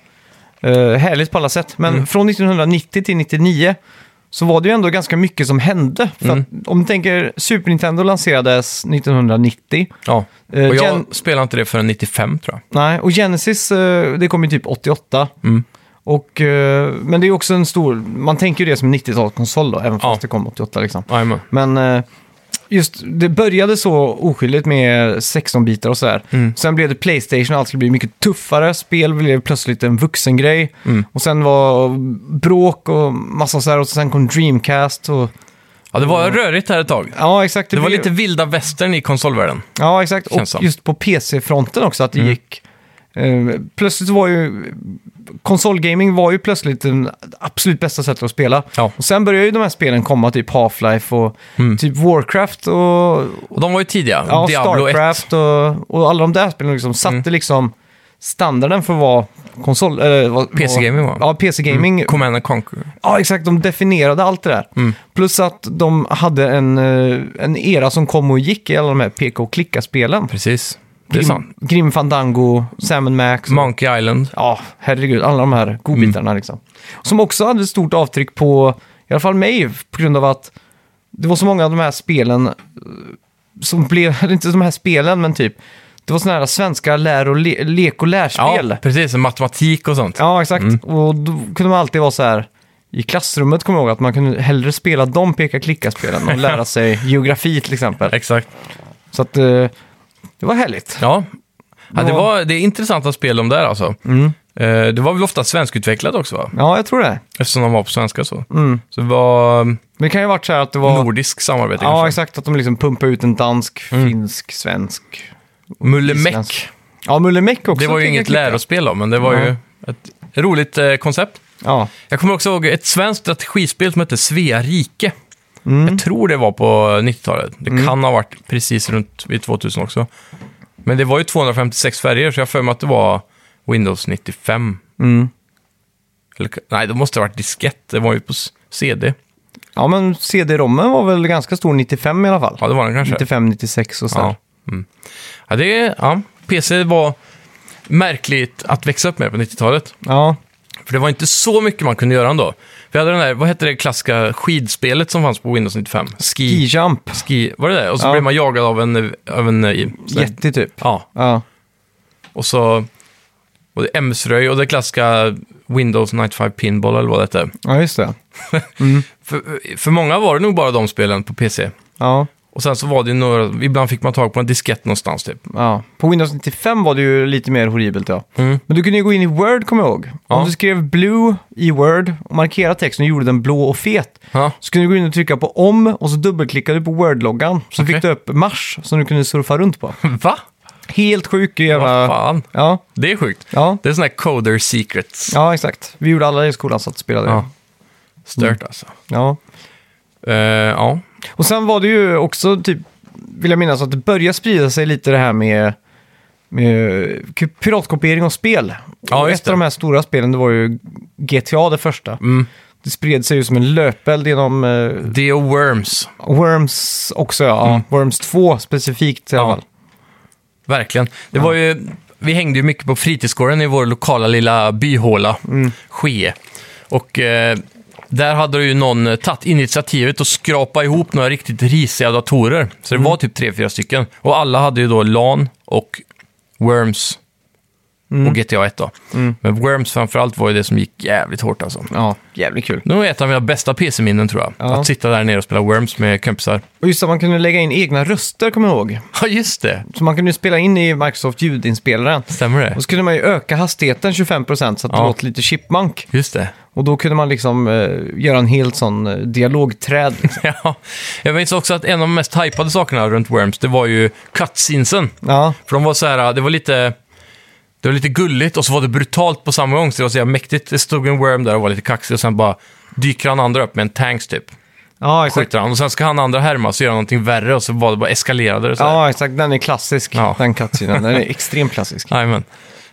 Speaker 1: eh, härligt på alla sätt. Men från 1990 till 99 så var det ju ändå ganska mycket som hände. För att, om du tänker, Super Nintendo lanserades 1990.
Speaker 2: Ja.
Speaker 1: Eh,
Speaker 2: och jag
Speaker 1: Gen-
Speaker 2: spelade inte det förrän 95 tror jag.
Speaker 1: Nej, och Genesis, eh, det kom ju typ 88. Och, eh, men det är ju också en stor, man tänker ju det som en 90-talskonsol då, även fast
Speaker 2: Ja.
Speaker 1: det kom 88 liksom.
Speaker 2: Jajamän.
Speaker 1: Men eh, just, det började så oskyldigt med 16-bitar och sådär.
Speaker 2: Mm.
Speaker 1: Sen blev det Playstation och allt skulle bli mycket tuffare. Spel blev plötsligt en vuxengrej.
Speaker 2: Mm.
Speaker 1: Och sen var bråk och massa så här. Och sen kom Dreamcast och...
Speaker 2: Ja, det var rörigt här ett tag.
Speaker 1: Ja, exakt.
Speaker 2: Det var
Speaker 1: blev-
Speaker 2: lite vilda västern i konsolvärlden.
Speaker 1: Ja, exakt. Och
Speaker 2: Känns som.
Speaker 1: just på PC-fronten också, att
Speaker 2: Mm.
Speaker 1: det gick... Eh, plötsligt var ju... Konsolgaming var ju plötsligt den absolut bästa sättet att spela.
Speaker 2: Ja. Mm.
Speaker 1: Och sen började ju de här spelen komma, typ Half-Life och typ Warcraft och,
Speaker 2: Och de var ju tidiga.
Speaker 1: ja,
Speaker 2: Diablo Mm. 1.
Speaker 1: Starcraft och, och alla de där spelen liksom satte liksom standarden för vad konsol... Eller vad,
Speaker 2: PC-gaming var. Mm.
Speaker 1: vad- Ja, PC-gaming
Speaker 2: Command and Conquer.
Speaker 1: Ja, exakt. De definierade allt det där.
Speaker 2: Mm.
Speaker 1: Plus att de hade en, eh, en era som kom och gick i alla de här pk och klicka-spelen.
Speaker 2: Precis. Det är sant.
Speaker 1: Grim, Grim Fandango, Sam Max. och-
Speaker 2: Monkey Island.
Speaker 1: ja, herregud. Alla de här godbitarna liksom. Som också hade ett stort avtryck på, i alla fall mig, på grund av att det var så många av de här spelen eh, som blev, eller inte de här spelen, men typ, det var sådana här svenska lär och le, lek och lärspel.
Speaker 2: Ja, precis. Matematik och sånt.
Speaker 1: Ja, exakt. Och då kunde man alltid vara så här... I klassrummet kommer jag ihåg att man kunde hellre spela de peka-klicka-spelen och lära sig geografi till exempel.
Speaker 2: Exakt.
Speaker 1: Så att eh, det var härligt.
Speaker 2: Ja.
Speaker 1: Ja.
Speaker 2: ja det,
Speaker 1: Mm.
Speaker 2: var, det är intressanta spel de där alltså. Eh, Det var väl ofta svenskutvecklade också va?
Speaker 1: Ja, jag tror det.
Speaker 2: Eftersom de var på svenska så. Så det var mm,
Speaker 1: Men det kan ju ha varit så här att det var...
Speaker 2: nordisk samarbete
Speaker 1: ja,
Speaker 2: kanske.
Speaker 1: exakt. Att de liksom pumpade ut en dansk, finsk, svensk.
Speaker 2: Mulle Meck.
Speaker 1: isländsk. Ja, Mulle Meck också.
Speaker 2: Det var ju
Speaker 1: peka-klicka.
Speaker 2: inget lärospel då, men det var ju
Speaker 1: Nej.
Speaker 2: ett roligt eh, koncept.
Speaker 1: Ja,
Speaker 2: Jag kommer också ihåg ett svenskt strategispel som hette Svea rike. Jag tror det var på 90-talet. Det kan ha varit precis runt vid 2000 också. Men det var ju 256 färger, så jag har för mig att det var Windows 95. Eller, nej, det måste ha varit diskett. Det var ju på s- CD.
Speaker 1: ja men CD-rommen var väl ganska stor 95 i alla fall.
Speaker 2: Ja, det var den kanske.
Speaker 1: 95, 96 och så.
Speaker 2: Ja.
Speaker 1: här.
Speaker 2: Mm. Ja, det, ja, PC var märkligt att växa upp med på 90-talet.
Speaker 1: Ja.
Speaker 2: För det var inte så mycket man kunde göra ändå. Vi hade den där, vad hette det klassiska skidspelet som fanns på Windows 95?
Speaker 1: Ski jump.
Speaker 2: Ski, var det det? Och så
Speaker 1: Ja.
Speaker 2: blev man jagad av en... Av en eh, i- sån där-
Speaker 1: Jätte typ.
Speaker 2: ja,
Speaker 1: Ja.
Speaker 2: och så... Och det MS-röj och det klassiska Windows 95 Pinball eller vad det hette.
Speaker 1: ja, just det.
Speaker 2: För, för många var det nog bara de spelen på PC.
Speaker 1: Ja.
Speaker 2: Och sen så var det ju några, ibland fick man tag på en diskett någonstans typ.
Speaker 1: Ja, på Windows 95 var det ju lite mer horribelt ja.
Speaker 2: Mm.
Speaker 1: Men du kunde ju gå in i Word, kommer jag ihåg.
Speaker 2: Ja.
Speaker 1: Om du skrev blue i Word och markerade texten och gjorde den blå och fet,
Speaker 2: Ja.
Speaker 1: så kunde du gå in och trycka på om och så dubbelklickade du på Word-loggan. Så
Speaker 2: Okej.
Speaker 1: fick du upp Mars som du kunde surfa runt på.
Speaker 2: Va?
Speaker 1: Helt sjuk
Speaker 2: Vad
Speaker 1: jävla...
Speaker 2: fan?
Speaker 1: Ja,
Speaker 2: Det är sjukt.
Speaker 1: ja,
Speaker 2: Det är sådana här coder secrets.
Speaker 1: ja, exakt. Vi gjorde alla det i skolan, så att spela det.
Speaker 2: Ja. Stört
Speaker 1: Mm.
Speaker 2: alltså.
Speaker 1: Ja.
Speaker 2: Eh, ja.
Speaker 1: Och sen var det ju också typ, vill jag minnas, att det började sprida sig lite det här med, med k- piratkopiering av spel.
Speaker 2: Ja,
Speaker 1: och
Speaker 2: just
Speaker 1: ett
Speaker 2: det.
Speaker 1: av de här stora spelen, det var ju GTA det första.
Speaker 2: Mm.
Speaker 1: Det spred sig ju som en löpeld genom eh,
Speaker 2: Deo Worms.
Speaker 1: Worms också, ja. Worms 2 specifikt i alla
Speaker 2: Mm. Ja.
Speaker 1: fall.
Speaker 2: Verkligen. Det var ju, vi hängde ju mycket på fritidsgården i vår lokala lilla byhåla,
Speaker 1: Mm.
Speaker 2: Skee. Och eh, där hade ju någon eh, tagit initiativet och skrapa ihop några riktigt risiga datorer. Så
Speaker 1: Mm.
Speaker 2: det var typ tre, fyra stycken. Och alla hade ju då LAN och Worms
Speaker 1: Mm.
Speaker 2: och GTA 1 då. Men Worms framförallt var ju det som gick jävligt hårt alltså.
Speaker 1: Ja, jävligt kul.
Speaker 2: Det var ett av mina bästa PC-minnen tror jag.
Speaker 1: Ja.
Speaker 2: Att sitta där nere och spela Worms med kompisar.
Speaker 1: Och just att man kunde lägga in egna röster, kommer jag ihåg.
Speaker 2: Ja, just det.
Speaker 1: Så man kunde ju spela in i Microsoft ljudinspelaren.
Speaker 2: Stämmer det?
Speaker 1: Och så kunde man ju öka hastigheten 25% så att det
Speaker 2: Ja.
Speaker 1: låter lite chipmunk.
Speaker 2: Just det.
Speaker 1: Och då kunde man liksom eh, göra en helt sån eh, dialogträd. Liksom.
Speaker 2: Ja, jag minns också att en av de mest hypade sakerna runt Worms, det var ju cutscenesen.
Speaker 1: Ja,
Speaker 2: För de var så här, det var lite... Det var lite gulligt och så var det brutalt på samma gång, så det var så jävla mäktigt. Det stod en Worm där och var lite kaxig och sen bara dyker han andra upp med en tanks typ.
Speaker 1: ja exakt.
Speaker 2: Skjuter han och sen ska han andra härma och så göra någonting värre och så var det bara eskalerade det så här.
Speaker 1: Ja, exakt. Den är klassisk,
Speaker 2: Ja.
Speaker 1: den cutscenen. Den är extremt klassisk.
Speaker 2: Jajamän.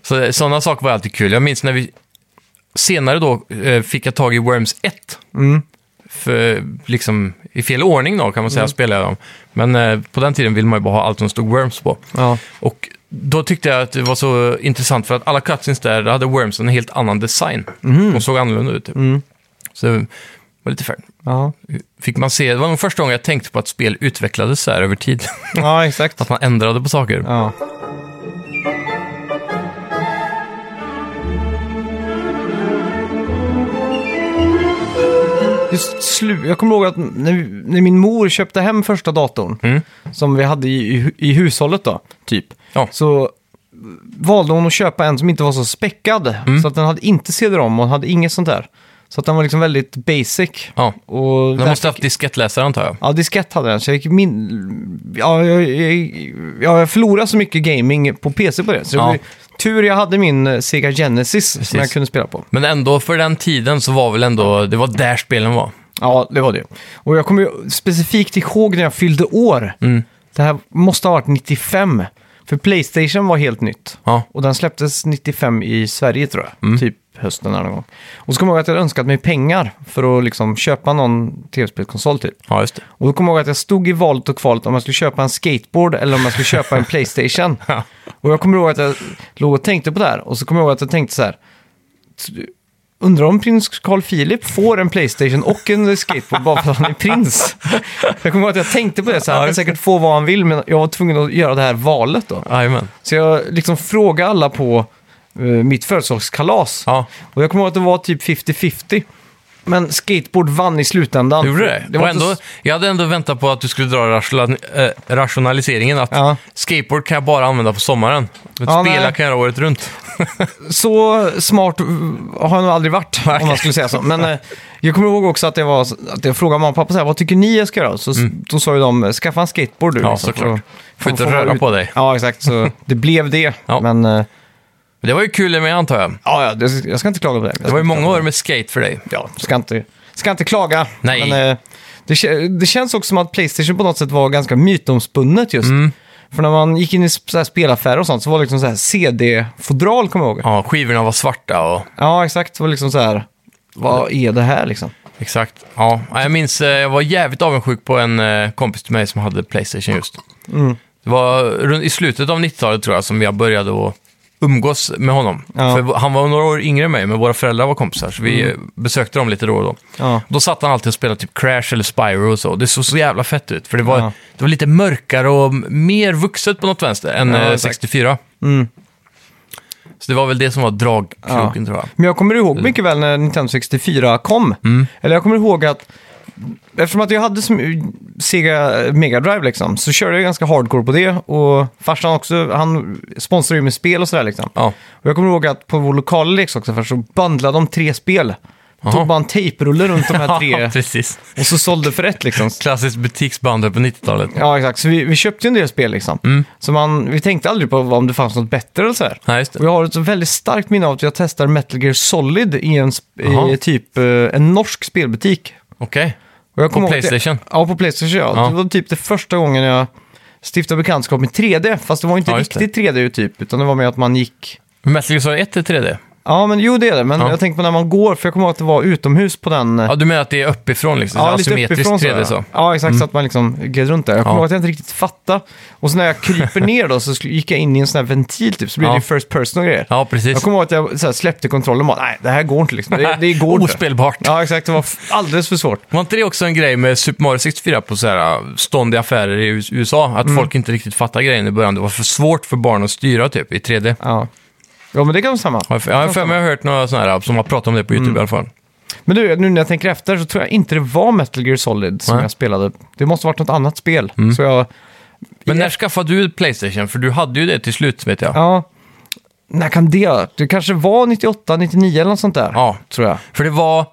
Speaker 2: Så eh, sådana saker var alltid kul. Jag minns när vi senare då eh, fick jag tag i Worms 1.
Speaker 1: Mm.
Speaker 2: För, liksom, I fel ordning då kan
Speaker 1: Mm.
Speaker 2: man säga spelade jag dem. Men eh, på den tiden ville man ju bara ha allt som stod Worms på.
Speaker 1: Ja,
Speaker 2: Och då tyckte jag att det var så intressant för att alla cutscenes där hade Worms en helt annan design.
Speaker 1: Mm.
Speaker 2: De såg annorlunda ut. Typ. Så det var lite färg.
Speaker 1: ja.
Speaker 2: Fick man se, det var nog första gången jag tänkte på att spel utvecklades så här över tid.
Speaker 1: ja exakt.
Speaker 2: att man ändrade på saker.
Speaker 1: Ja. Just slu- jag kommer ihåg att när, när min mor köpte hem första datorn,
Speaker 2: Mm.
Speaker 1: som vi hade i, i, i hushållet då, typ,
Speaker 2: Ja.
Speaker 1: så valde hon att köpa en som inte var så späckad.
Speaker 2: Mm.
Speaker 1: Så att den hade inte CD-ROM och hade inget sånt där. Så att den var liksom väldigt basic.
Speaker 2: Ja.
Speaker 1: Och
Speaker 2: Den
Speaker 1: där
Speaker 2: måste ha haft diskettläsare antar jag.
Speaker 1: Ja, diskett hade den, så jag gick min... Ja, jag, jag, ja, jag förlorade så mycket gaming på PC på det. Så det
Speaker 2: Ja.
Speaker 1: var ju tur jag hade min eh, Sega Genesis som jag
Speaker 2: Precis.
Speaker 1: kunde spela på.
Speaker 2: Men ändå, för den tiden så var väl ändå, det var där spelen var.
Speaker 1: Ja, det var det. Och jag kommer ju specifikt ihåg när jag fyllde år.
Speaker 2: Mm.
Speaker 1: Det här måste ha varit 95. För Playstation var helt nytt.
Speaker 2: Ja. Mm.
Speaker 1: Och den släpptes 95 i Sverige tror jag. Typ hösten där någon gång. Och så kommer jag ihåg att jag hade önskat mig pengar för att liksom köpa någon tv-spelkonsol typ.
Speaker 2: Ja, just det.
Speaker 1: Och då kommer jag ihåg att jag stod i valet och kvalet om jag skulle köpa en skateboard eller om jag skulle köpa en Playstation. Och jag kommer ihåg att jag låg och tänkte på det här. Och så kommer jag ihåg att jag tänkte så här. Undrar om prins Carl Philip får en Playstation och en skateboard bara för att han är prins. Jag kommer ihåg att jag tänkte på det, så här, han kan säkert få vad han vill, men jag var tvungen att göra det här valet då.
Speaker 2: Jajamän.
Speaker 1: Så jag liksom frågade alla på eh, mitt födelsedagskalas.
Speaker 2: Ja.
Speaker 1: Och jag kommer ihåg att det var typ 50-50. Men skateboard vann i slutändan.
Speaker 2: Gjorde det?
Speaker 1: var
Speaker 2: och
Speaker 1: inte
Speaker 2: ändå,
Speaker 1: så-
Speaker 2: jag hade ändå väntat på att du skulle dra rationa- eh, rationaliseringen att
Speaker 1: Ja.
Speaker 2: skateboard kan jag bara använda på sommaren. Men
Speaker 1: Ja,
Speaker 2: spela
Speaker 1: nej.
Speaker 2: kan jag göra året runt.
Speaker 1: så smart eh, har jag nog aldrig varit, om man skulle säga så. Men eh, jag kommer ihåg också att, det var, att jag frågade mamma och pappa så här, vad tycker ni jag ska göra? Så, Då sa ju de, "Eh, skaffa en skateboard du.
Speaker 2: Mm.
Speaker 1: Liksom,
Speaker 2: Ja, såklart.
Speaker 1: Så-
Speaker 2: Får inte
Speaker 1: vara
Speaker 2: röra
Speaker 1: ut-
Speaker 2: på dig.
Speaker 1: Ja, exakt. Så det blev det.
Speaker 2: Ja.
Speaker 1: Men eh,
Speaker 2: Men Det var ju kul med antar jag.
Speaker 1: ja, ja, det- jag ska inte klaga på det.
Speaker 2: Det var ju många år med skate för dig.
Speaker 1: Ja, ska inte, ska inte klaga.
Speaker 2: Nej.
Speaker 1: Men, eh, det, kä- det känns också som att Playstation på något sätt var ganska mytomspunnet just.
Speaker 2: Mm.
Speaker 1: För när man gick in i sp- så här spelaffärer och sånt så var det liksom så här CD-fodral, kommer jag ihåg.
Speaker 2: Ja, skivorna var svarta och...
Speaker 1: Ja, exakt. Det var liksom så här, vad är det här liksom?
Speaker 2: Exakt. Ja, Ja, jag minns, eh, jag var jävligt avundsjuk på en eh, kompis till mig som hade Playstation just.
Speaker 1: Mm.
Speaker 2: Det var runt- i slutet av 90-talet tror jag som jag började att umgås med honom.
Speaker 1: Ja. Mm.
Speaker 2: För han var några år yngre än mig, men våra föräldrar var kompisar, så vi eh, besökte dem lite då och då.
Speaker 1: Ja.
Speaker 2: Då satt han alltid och spelade typ Crash eller Spyro och så. Det såg så jävla fett ut, för det var,
Speaker 1: Ja.
Speaker 2: det var lite mörkare och mer vuxet på något vänster än
Speaker 1: Ja,
Speaker 2: eh,
Speaker 1: exakt. Mm.
Speaker 2: 64. Så det var väl det som var dragkroken tror jag.
Speaker 1: Men jag kommer ihåg mycket väl när Nintendo 64 kom.
Speaker 2: Mm.
Speaker 1: Eller jag kommer ihåg att Eftersom att jag hade som Sega Mega Drive liksom, så körde jag ganska hardcore på det. Och farsan också, han sponsrade ju med spel och sådär liksom.
Speaker 2: Ja.
Speaker 1: Och jag kommer ihåg att på vår lokala leksaksaffär så bandlade de tre spel. Tog bara en tejprulle runt de här
Speaker 2: Ja,
Speaker 1: tre
Speaker 2: precis.
Speaker 1: och så sålde för ett liksom.
Speaker 2: Klassiskt butiksband på 90-talet.
Speaker 1: Ja, exakt. Så vi, vi köpte ju en del spel liksom.
Speaker 2: Mm.
Speaker 1: Så man, vi tänkte aldrig på vad- om det fanns något bättre eller sådär.
Speaker 2: Nej, just
Speaker 1: Och
Speaker 2: det.
Speaker 1: jag har ett så väldigt starkt minne av att jag testade Metal Gear Solid i en, sp-
Speaker 2: Jaha.
Speaker 1: i typ eh, en norsk spelbutik.
Speaker 2: Okej.
Speaker 1: Och jag
Speaker 2: På
Speaker 1: kommer ihåg
Speaker 2: Playstation?
Speaker 1: Det, ja, på Playstation. Ja.
Speaker 2: Ja.
Speaker 1: Det var typ det första gången jag stiftade bekantskap med 3D. Fast det var inte
Speaker 2: Ja, just det.
Speaker 1: riktigt 3D typ, utan det var mer att man gick...
Speaker 2: Men Metal Gear Solid 1 är 3D?
Speaker 1: Ja, men jo det är det. Men
Speaker 2: Ja.
Speaker 1: jag tänker på när man går, för jag kommer ihåg att det var utomhus på den... eh,
Speaker 2: Ja, du menar att det är uppifrån liksom?
Speaker 1: Ja, lite
Speaker 2: Asymmetriskt
Speaker 1: uppifrån
Speaker 2: 3D så? Mm.
Speaker 1: Ja, ja exakt. Så att man liksom gled runt där. Jag kommer
Speaker 2: Ja.
Speaker 1: ihåg att jag inte riktigt fattade. Och så när jag kryper ner då så sk- gick jag in i en sån här ventil typ, så blev
Speaker 2: Ja.
Speaker 1: det ju first person och grejer.
Speaker 2: Ja, precis.
Speaker 1: Jag kommer ihåg att jag så här, släppte kontrollen och bara, nej, det här går inte liksom. Det, det går inte.
Speaker 2: Ospelbart.
Speaker 1: Ja, exakt. Det var f- alldeles för svårt.
Speaker 2: Var inte det också en grej med Super Mario 64 på så här ståndiga affärer i US- USA?
Speaker 1: Mm.
Speaker 2: Att folk inte riktigt fattade grejen i början. Det var för svårt för barn att styra typ i 3D.
Speaker 1: Ja, ja men det kan vara samma.
Speaker 2: Har jag- Jag har för mig jag har hört några sådana här äh, som har pratat om det på
Speaker 1: Mm.
Speaker 2: YouTube i alla fall.
Speaker 1: Men du, nu när jag tänker efter så tror jag inte det var Metal Gear Solid som
Speaker 2: Nej. Mm.
Speaker 1: jag spelade. Det måste ha varit något annat spel. Så jag,
Speaker 2: Men när skaffade du Playstation? För du hade ju det till slut vet jag.
Speaker 1: ja, när kan det ha varit? Det kanske var 98, 99 eller något sånt där.
Speaker 2: Ja.
Speaker 1: Tror jag.
Speaker 2: För det var...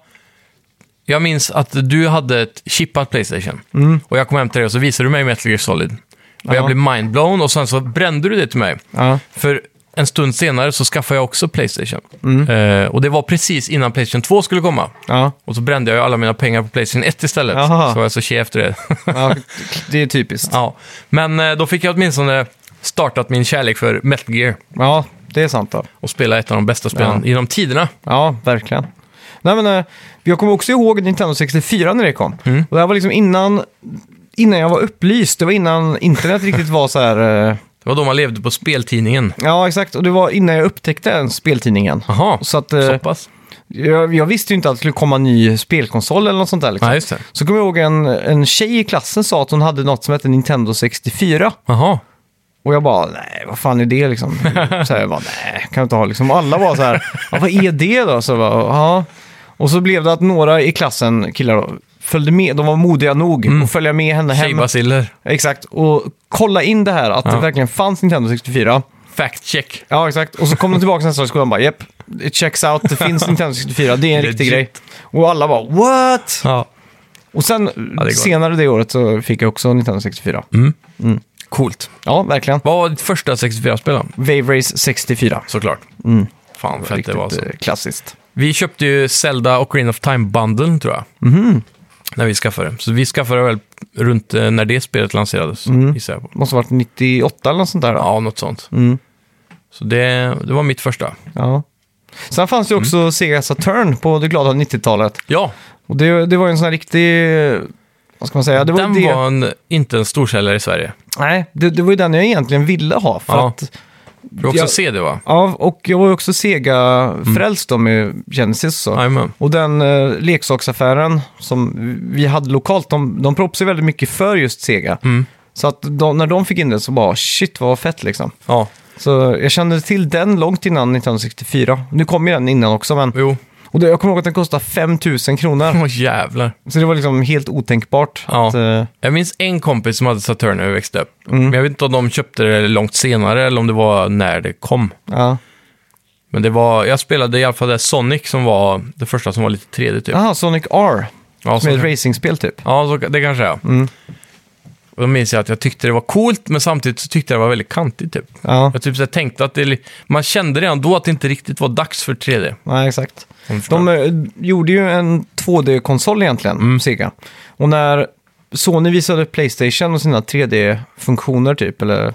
Speaker 2: Jag minns att du hade ett chippat Playstation. Och jag kom hem till dig och så visade du mig Metal Gear Solid. Och
Speaker 1: Mm. Ja.
Speaker 2: jag blev mindblown och sen så brände du det till mig.
Speaker 1: Ja.
Speaker 2: För en stund senare så skaffade jag också Playstation.
Speaker 1: Mm.
Speaker 2: Eh, och det var precis innan Playstation 2 skulle komma.
Speaker 1: Ja.
Speaker 2: Och så brände jag ju alla mina pengar på Playstation 1 istället.
Speaker 1: Jaha.
Speaker 2: Så var jag så tjej efter det.
Speaker 1: ja, det är typiskt.
Speaker 2: ja. Men eh, då fick jag åtminstone startat min kärlek för Metal Gear.
Speaker 1: Ja, det är sant då.
Speaker 2: Och spela ett av de bästa spelen
Speaker 1: Ja.
Speaker 2: genom tiderna.
Speaker 1: Ja, verkligen. Nej, men, eh, jag kommer också ihåg Nintendo 64 när det kom.
Speaker 2: Mm.
Speaker 1: Och det här var liksom innan, innan jag var upplyst. Det var innan internet riktigt var så här... eh,
Speaker 2: Det var då man levde på speltidningen.
Speaker 1: Ja, exakt. Och det var innan jag upptäckte ens speltidningen.
Speaker 2: Jaha,
Speaker 1: Så att, eh,
Speaker 2: så pass.
Speaker 1: jag, jag visste ju inte att det skulle komma en ny spelkonsol eller något sånt där. Liksom.
Speaker 2: Ja, just det.
Speaker 1: Så kommer jag ihåg en, en tjej i klassen sa att hon hade något som hette Nintendo 64.
Speaker 2: Jaha.
Speaker 1: Och jag bara, nej, vad fan är det liksom? Så här, jag bara, nej, kan jag inte ha liksom. Och alla var så här, ja, vad är det då? Så jag bara, ja. Och så blev det att några i klassen, killar, då, följde med. De var modiga nog
Speaker 2: Mm.
Speaker 1: att följa med henne hem.
Speaker 2: Tjejbaciller.
Speaker 1: Exakt, och kolla in det här, att det verkligen fanns Nintendo 64.
Speaker 2: Fact check.
Speaker 1: Ja, exakt. Och så kom de tillbaka nästa år i skolan och bara “Japp, it checks out, det finns Nintendo 64, det är en riktig grej”.
Speaker 2: Legit.
Speaker 1: Och alla bara “What?”
Speaker 2: Ja.
Speaker 1: Och sen
Speaker 2: galet.
Speaker 1: senare det året så fick jag också Nintendo 64.
Speaker 2: Mm. Coolt.
Speaker 1: Ja, verkligen.
Speaker 2: Vad var ditt första 64-spel då?
Speaker 1: Wave Race 64.
Speaker 2: Såklart. Fan, fett det
Speaker 1: Riktigt
Speaker 2: var alltså.
Speaker 1: eh, klassiskt.
Speaker 2: Vi köpte ju Zelda och Green of Time-bundeln tror jag. Mhm. När vi skaffade. Så vi skaffade väl runt eh, när det spelet lanserades, gissar jag på.
Speaker 1: Måste ha varit 98 eller något sånt där. då.
Speaker 2: Ja, något sånt. Så det, det var mitt första.
Speaker 1: Ja. Sen fanns det ju också
Speaker 2: Mm.
Speaker 1: Sega Saturn på det glada 90-talet.
Speaker 2: Ja,
Speaker 1: Och det, det var ju en sån här riktig... Vad ska man säga? Det var ju
Speaker 2: den
Speaker 1: det...
Speaker 2: var en, inte en storsäljare i Sverige.
Speaker 1: Nej, det, det var ju den jag egentligen ville ha. För
Speaker 2: Ja.
Speaker 1: att,
Speaker 2: Du också
Speaker 1: Jag-
Speaker 2: CD va?
Speaker 1: ja, och jag var ju också Sega-frälst då med Genesis. Så.
Speaker 2: Jajamän.
Speaker 1: Och den eh, leksaksaffären som vi hade lokalt, de, de proppsade väldigt mycket för just Sega.
Speaker 2: Mm.
Speaker 1: Så att de, när de fick in det så bara shit vad fett liksom.
Speaker 2: Ja,
Speaker 1: Så jag kände till den långt innan 1964. Nu kom ju den innan också men.
Speaker 2: jo.
Speaker 1: Och det, jag kommer ihåg att den kostade 5 000 kronor.
Speaker 2: Åh jävlar.
Speaker 1: Så det var liksom helt otänkbart.
Speaker 2: Ja.
Speaker 1: Att, eh,
Speaker 2: Jag minns en kompis som hade Saturn när vi växte upp.
Speaker 1: Mm.
Speaker 2: Men jag vet inte om de köpte det långt senare eller om det var när det kom.
Speaker 1: ja.
Speaker 2: Men det var, jag spelade i alla fall det Sonic som var det första som var lite 3D typ.
Speaker 1: Jaha, Sonic R.
Speaker 2: Ja,
Speaker 1: Ah, Som är Mm.
Speaker 2: Sonic.
Speaker 1: ett racingspel typ.
Speaker 2: Ja, så, det kanske är. Och då minns jag att jag tyckte det var coolt, men samtidigt så tyckte jag det var väldigt kantigt typ.
Speaker 1: Ja,
Speaker 2: Jag typ så här tänkte att det, är li- man kände redan då att det inte riktigt var dags för 3D.
Speaker 1: nej exakt.
Speaker 2: om du förstår.
Speaker 1: De eh, gjorde ju en 2D-konsol egentligen,
Speaker 2: Mm.
Speaker 1: Sega. Och när Sony visade Playstation och sina 3D-funktioner typ, eller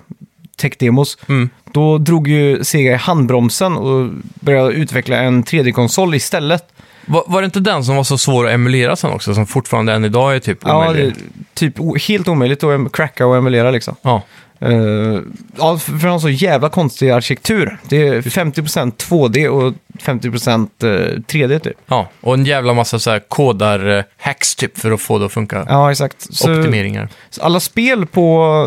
Speaker 1: tech-demos,
Speaker 2: Mm.
Speaker 1: då drog ju Sega i handbromsen och började utveckla en 3D-konsol istället.
Speaker 2: var, var det inte den som var så svår att emulera sen också, som fortfarande än idag är typ
Speaker 1: Ja,
Speaker 2: omöjlig?
Speaker 1: det- typ o- helt omöjligt att em- cracka och emulera liksom.
Speaker 2: Ja,
Speaker 1: Eh, ja, för för en så jävla konstig arkitektur. Det är 50% 2D och 50% eh, 3D typ.
Speaker 2: ja. Och en jävla massa så här kodar, eh, hacks typ för att få det att funka.
Speaker 1: Ja, exakt. Så-
Speaker 2: Optimeringar.
Speaker 1: Så alla spel på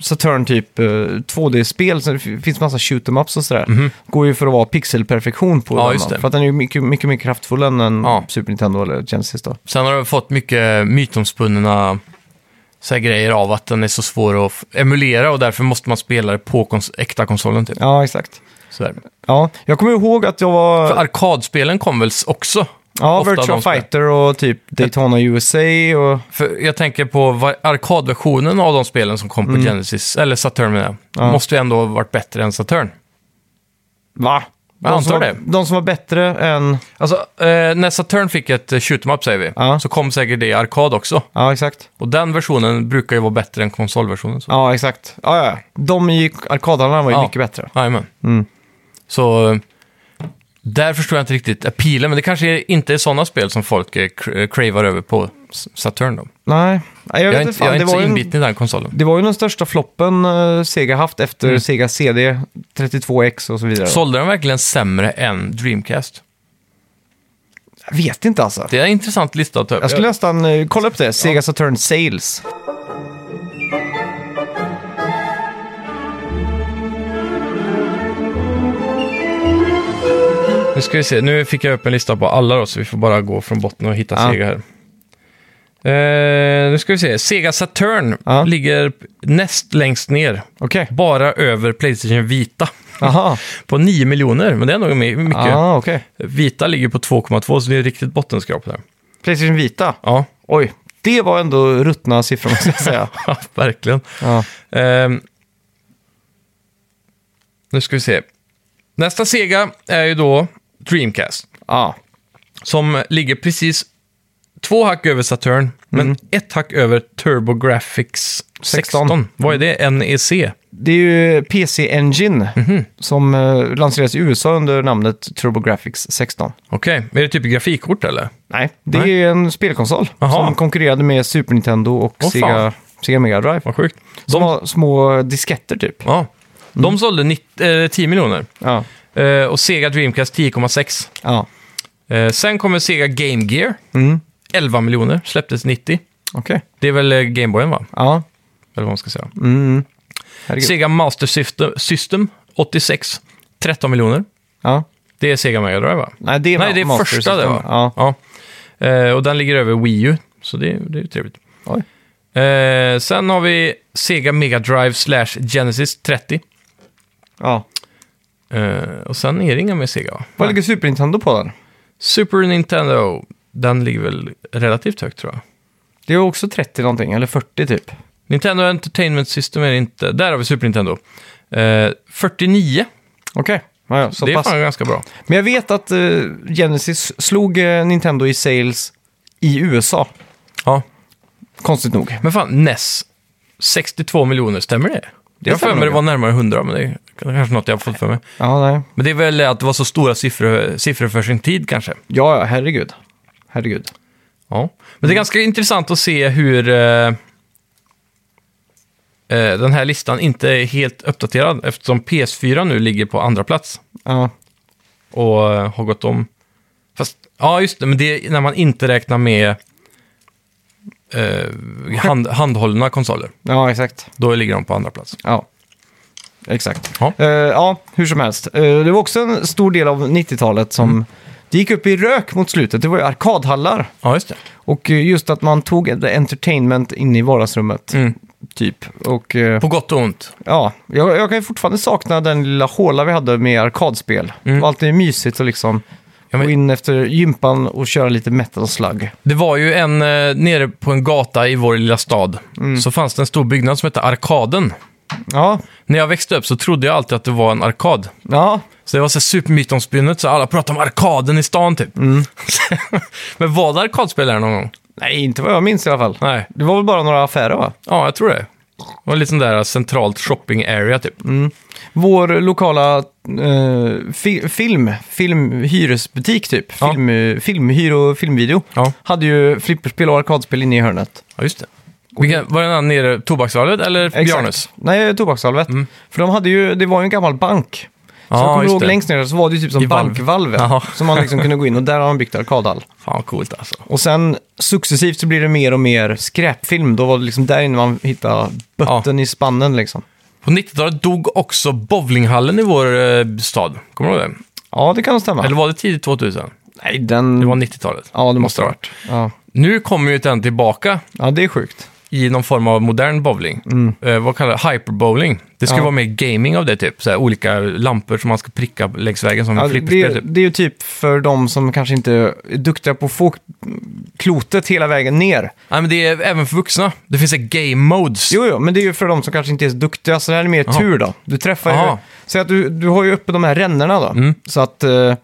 Speaker 1: Saturn, typ eh, 2D-spel, så det f- finns massa shoot 'em ups och sådär, går ju för att vara pixelperfektion på
Speaker 2: Mhm. Ja,
Speaker 1: den.
Speaker 2: just
Speaker 1: då.
Speaker 2: det.
Speaker 1: För att den är ju mycket, mycket mer kraftfull än en
Speaker 2: Ja.
Speaker 1: Super Nintendo eller Genesis då.
Speaker 2: Sen har du fått mycket mytomspunna så här grejer av att den är så svår att f- emulera och därför måste man spela det på kons äkta konsolen typ.
Speaker 1: Ja, exakt.
Speaker 2: Sådär.
Speaker 1: Ja, jag kommer ihåg att jag var...
Speaker 2: För arkadspelen kom väl s- också?
Speaker 1: ja,
Speaker 2: ofta
Speaker 1: Virtual
Speaker 2: de spel.
Speaker 1: Fighter och typ Daytona USA och...
Speaker 2: För jag tänker på va- arkadversionen av de spelen som kom på
Speaker 1: Mm.
Speaker 2: Genesis, eller Saturn menar jag. Måste ju ändå ha varit bättre än Saturn.
Speaker 1: Va?
Speaker 2: Jag
Speaker 1: De som,
Speaker 2: antar
Speaker 1: var,
Speaker 2: det.
Speaker 1: de som var bättre än...
Speaker 2: Alltså, eh, när Saturn fick ett eh, shoot 'em up säger vi,
Speaker 1: Ja.
Speaker 2: så kom säkert det i arkad också.
Speaker 1: Ja, exakt.
Speaker 2: Och den versionen brukar ju vara bättre än konsolversionen. Så.
Speaker 1: Ja, exakt. Ja, ja. De i arkadhallarna var ju
Speaker 2: Ja.
Speaker 1: mycket bättre. Mm.
Speaker 2: Jajamän. Så eh, där förstår jag inte riktigt appealen, men det kanske inte är sådana spel som folk eh, cra- cravar över på S- Saturn då.
Speaker 1: Nej, Nej, jag
Speaker 2: Jag
Speaker 1: vet
Speaker 2: är
Speaker 1: inte
Speaker 2: inte,
Speaker 1: fan.
Speaker 2: jag är
Speaker 1: det
Speaker 2: inte så
Speaker 1: var ju en-
Speaker 2: inbiten i den konsolen.
Speaker 1: Det var ju den största floppen eh, Sega haft efter
Speaker 2: Mm.
Speaker 1: Sega CD, 32X och så vidare.
Speaker 2: Sålde den verkligen sämre än Dreamcast?
Speaker 1: Jag vet inte alltså.
Speaker 2: Det är en intressant lista att ta upp.
Speaker 1: Jag skulle nästan eh, kolla upp det. Sega Saturn Sales.
Speaker 2: Nu ska vi se, nu fick jag upp en lista på alla då, så vi får bara gå från botten och hitta
Speaker 1: Ja.
Speaker 2: Sega här. Eh, nu ska vi se, Sega Saturn
Speaker 1: Ja.
Speaker 2: ligger näst längst ner.
Speaker 1: Okej.
Speaker 2: Bara över Playstation Vita.
Speaker 1: Aha.
Speaker 2: På 9 miljoner, men det är nog my- mycket.
Speaker 1: Ah, okej.
Speaker 2: Vita ligger på 2,2, så det är riktigt bottenskrap där.
Speaker 1: Playstation Vita.
Speaker 2: Ja,
Speaker 1: Oj, det var ändå ruttna siffror måste jag säga.
Speaker 2: verkligen.
Speaker 1: ja.
Speaker 2: Ehm, nu ska vi se. Nästa Sega är ju då Dreamcast.
Speaker 1: ja.
Speaker 2: som ligger precis två hack över Saturn, men ett hack över TurboGrafx 16.
Speaker 1: 16.
Speaker 2: Vad är det? E NEC?
Speaker 1: Det är ju PC Engine
Speaker 2: Mhm.
Speaker 1: som eh, lanserades i USA under namnet TurboGrafx 16.
Speaker 2: Okej, är det typ grafikkort eller?
Speaker 1: Nej, det
Speaker 2: Nej.
Speaker 1: är en spelkonsol
Speaker 2: Aha.
Speaker 1: som konkurrerade med Super Nintendo och
Speaker 2: Åh,
Speaker 1: Sega,
Speaker 2: fan.
Speaker 1: Sega Mega Drive.
Speaker 2: Vad sjukt.
Speaker 1: Som var små disketter typ.
Speaker 2: Ja. De sålde nitt- eh, 10 miljoner
Speaker 1: Ja.
Speaker 2: eh, och Sega Dreamcast 10,6.
Speaker 1: ja.
Speaker 2: Eh, sen kommer Sega Game Gear,
Speaker 1: Mm.
Speaker 2: 11 miljoner, släpptes 90.
Speaker 1: Okej.
Speaker 2: Det är väl eh, Gameboyen va?
Speaker 1: Ja.
Speaker 2: Eller vad man ska säga.
Speaker 1: Mm. Herregud.
Speaker 2: Sega Master Syfte- System 86, 13 miljoner.
Speaker 1: Ja.
Speaker 2: Det är Sega Mega Drive va?
Speaker 1: Nej, det är,
Speaker 2: Nej, det är
Speaker 1: Master
Speaker 2: första det
Speaker 1: System.
Speaker 2: va?
Speaker 1: Ja.
Speaker 2: Eh, och den ligger över Wii U, så det, det är ju trevligt.
Speaker 1: Oj.
Speaker 2: Eh, sen har vi Sega Mega Drive slash Genesis 30.
Speaker 1: ja.
Speaker 2: Eh, och sen är det inga med Sega va?
Speaker 1: Vad ligger Super Nintendo på där?
Speaker 2: Super Nintendo, den ligger väl relativt högt tror jag.
Speaker 1: Det är också 30 någonting, eller 40 typ.
Speaker 2: Nintendo Entertainment System är det inte. Där har vi Super Nintendo. Eh, 49,
Speaker 1: Okej, ja, ja, så
Speaker 2: det är
Speaker 1: pass.
Speaker 2: fan ganska bra.
Speaker 1: Men jag vet att eh, Genesis slog eh, Nintendo i sales i USA,
Speaker 2: Ja.
Speaker 1: konstigt nog.
Speaker 2: Men fan, NES, 62 miljoner, stämmer det?
Speaker 1: Det
Speaker 2: jag har för
Speaker 1: stämmer
Speaker 2: mig
Speaker 1: nog,
Speaker 2: det var närmare 100, men det är kanske något jag har fått för mig.
Speaker 1: Ja, nej.
Speaker 2: Men det är väl att det var så stora siffror, siffror för sin tid kanske.
Speaker 1: Ja, ja, herregud. Herregud.
Speaker 2: Ja. Men det är ganska intressant att se hur eh, eh, den här listan inte är helt uppdaterad eftersom PS4 nu ligger på andra plats
Speaker 1: Ja,
Speaker 2: och eh, har gått om. Fast, ja just det, men det är när man inte räknar med eh, hand, handhållna konsoler.
Speaker 1: ja exakt.
Speaker 2: Då ligger de på andra plats.
Speaker 1: Ja, exakt.
Speaker 2: Ja.
Speaker 1: Eh, ja, hur som helst. Eh, det var också en stor del av 90-talet som
Speaker 2: Mm.
Speaker 1: det gick upp i rök mot slutet. Det var ju arkadhallar.
Speaker 2: Ja, just det.
Speaker 1: Och eh, just att man tog the entertainment in i vardagsrummet,
Speaker 2: Mm.
Speaker 1: typ. Och eh,
Speaker 2: På gott och ont.
Speaker 1: ja, jag, jag kan ju fortfarande sakna den lilla håla vi hade med arkadspel. Det var alltid mysigt att liksom
Speaker 2: Mm. Ja, men-
Speaker 1: gå in efter gympan och köra lite metal slug.
Speaker 2: Det var ju en, eh, nere på en gata i vår lilla stad, så fanns det en stor byggnad som hette Arkaden.
Speaker 1: Ja,
Speaker 2: När jag växte upp så trodde jag alltid att det var en arkad.
Speaker 1: ja,
Speaker 2: Så det var så här supermytomspunnet, så alla pratade om arkaden i stan typ. Men var det arkadspel här någon gång?
Speaker 1: nej, inte vad jag minns i alla fall.
Speaker 2: Nej.
Speaker 1: Det var väl bara några affärer va?
Speaker 2: Ja, jag tror det. Det var lite sån där centralt shopping area typ.
Speaker 1: Vår lokala eh, fi- film, filmhyresbutik typ,
Speaker 2: Ja.
Speaker 1: film, filmhyr och filmvideo,
Speaker 2: Ja.
Speaker 1: hade ju flipperspel och arkadspel inne i hörnet.
Speaker 2: Ja, just det. Vilka, var den här nere, Tobaksvalvet eller Björnes?
Speaker 1: Exakt. Nej, Tobaksvalvet. För de hade ju, det var ju en gammal bank. Så
Speaker 2: Mm. Ja,
Speaker 1: jag kommer
Speaker 2: just
Speaker 1: ihåg
Speaker 2: det.
Speaker 1: längst ner så var det ju typ som
Speaker 2: I valv.
Speaker 1: bankvalvet.
Speaker 2: Jaha.
Speaker 1: Som man liksom kunde gå in och där har de byggt arkadhall.
Speaker 2: Fan vad coolt alltså.
Speaker 1: Och sen successivt så blir det mer och mer skräpfilm. Då var det liksom där inne man hittade bötten i spannen liksom.
Speaker 2: På 90-talet dog också bowlinghallen i vår eh, stad. Kommer du ihåg det?
Speaker 1: Ja, det kan stämma.
Speaker 2: Eller var det tidigt 2000?
Speaker 1: Nej, den...
Speaker 2: Det var 90-talet.
Speaker 1: Ja, det måste det ha varit. Ja.
Speaker 2: Nu kommer ju den tillbaka
Speaker 1: ja, det är sjukt.
Speaker 2: i någon form av modern bowling. Eh, vad kallar det? Hyperbowling. Det ska
Speaker 1: Mm. Ja.
Speaker 2: vara mer gaming av det, typ. Så här, olika lampor som man ska pricka längs vägen som
Speaker 1: Ja,
Speaker 2: ja,
Speaker 1: Alltså, det,
Speaker 2: flipperspel,
Speaker 1: är-
Speaker 2: typ.
Speaker 1: det är ju typ för de som kanske inte är duktiga på att få klotet hela vägen ner.
Speaker 2: Nej, men det är även för vuxna. Det finns ett game modes.
Speaker 1: Jo, jo, men det är ju för de som kanske inte är så duktiga, så det här är mer
Speaker 2: Jaha.
Speaker 1: tur då. Du träffar ju...
Speaker 2: Jaha. Mm.
Speaker 1: Säg att du, du har ju uppe de här rännorna då, så att eh,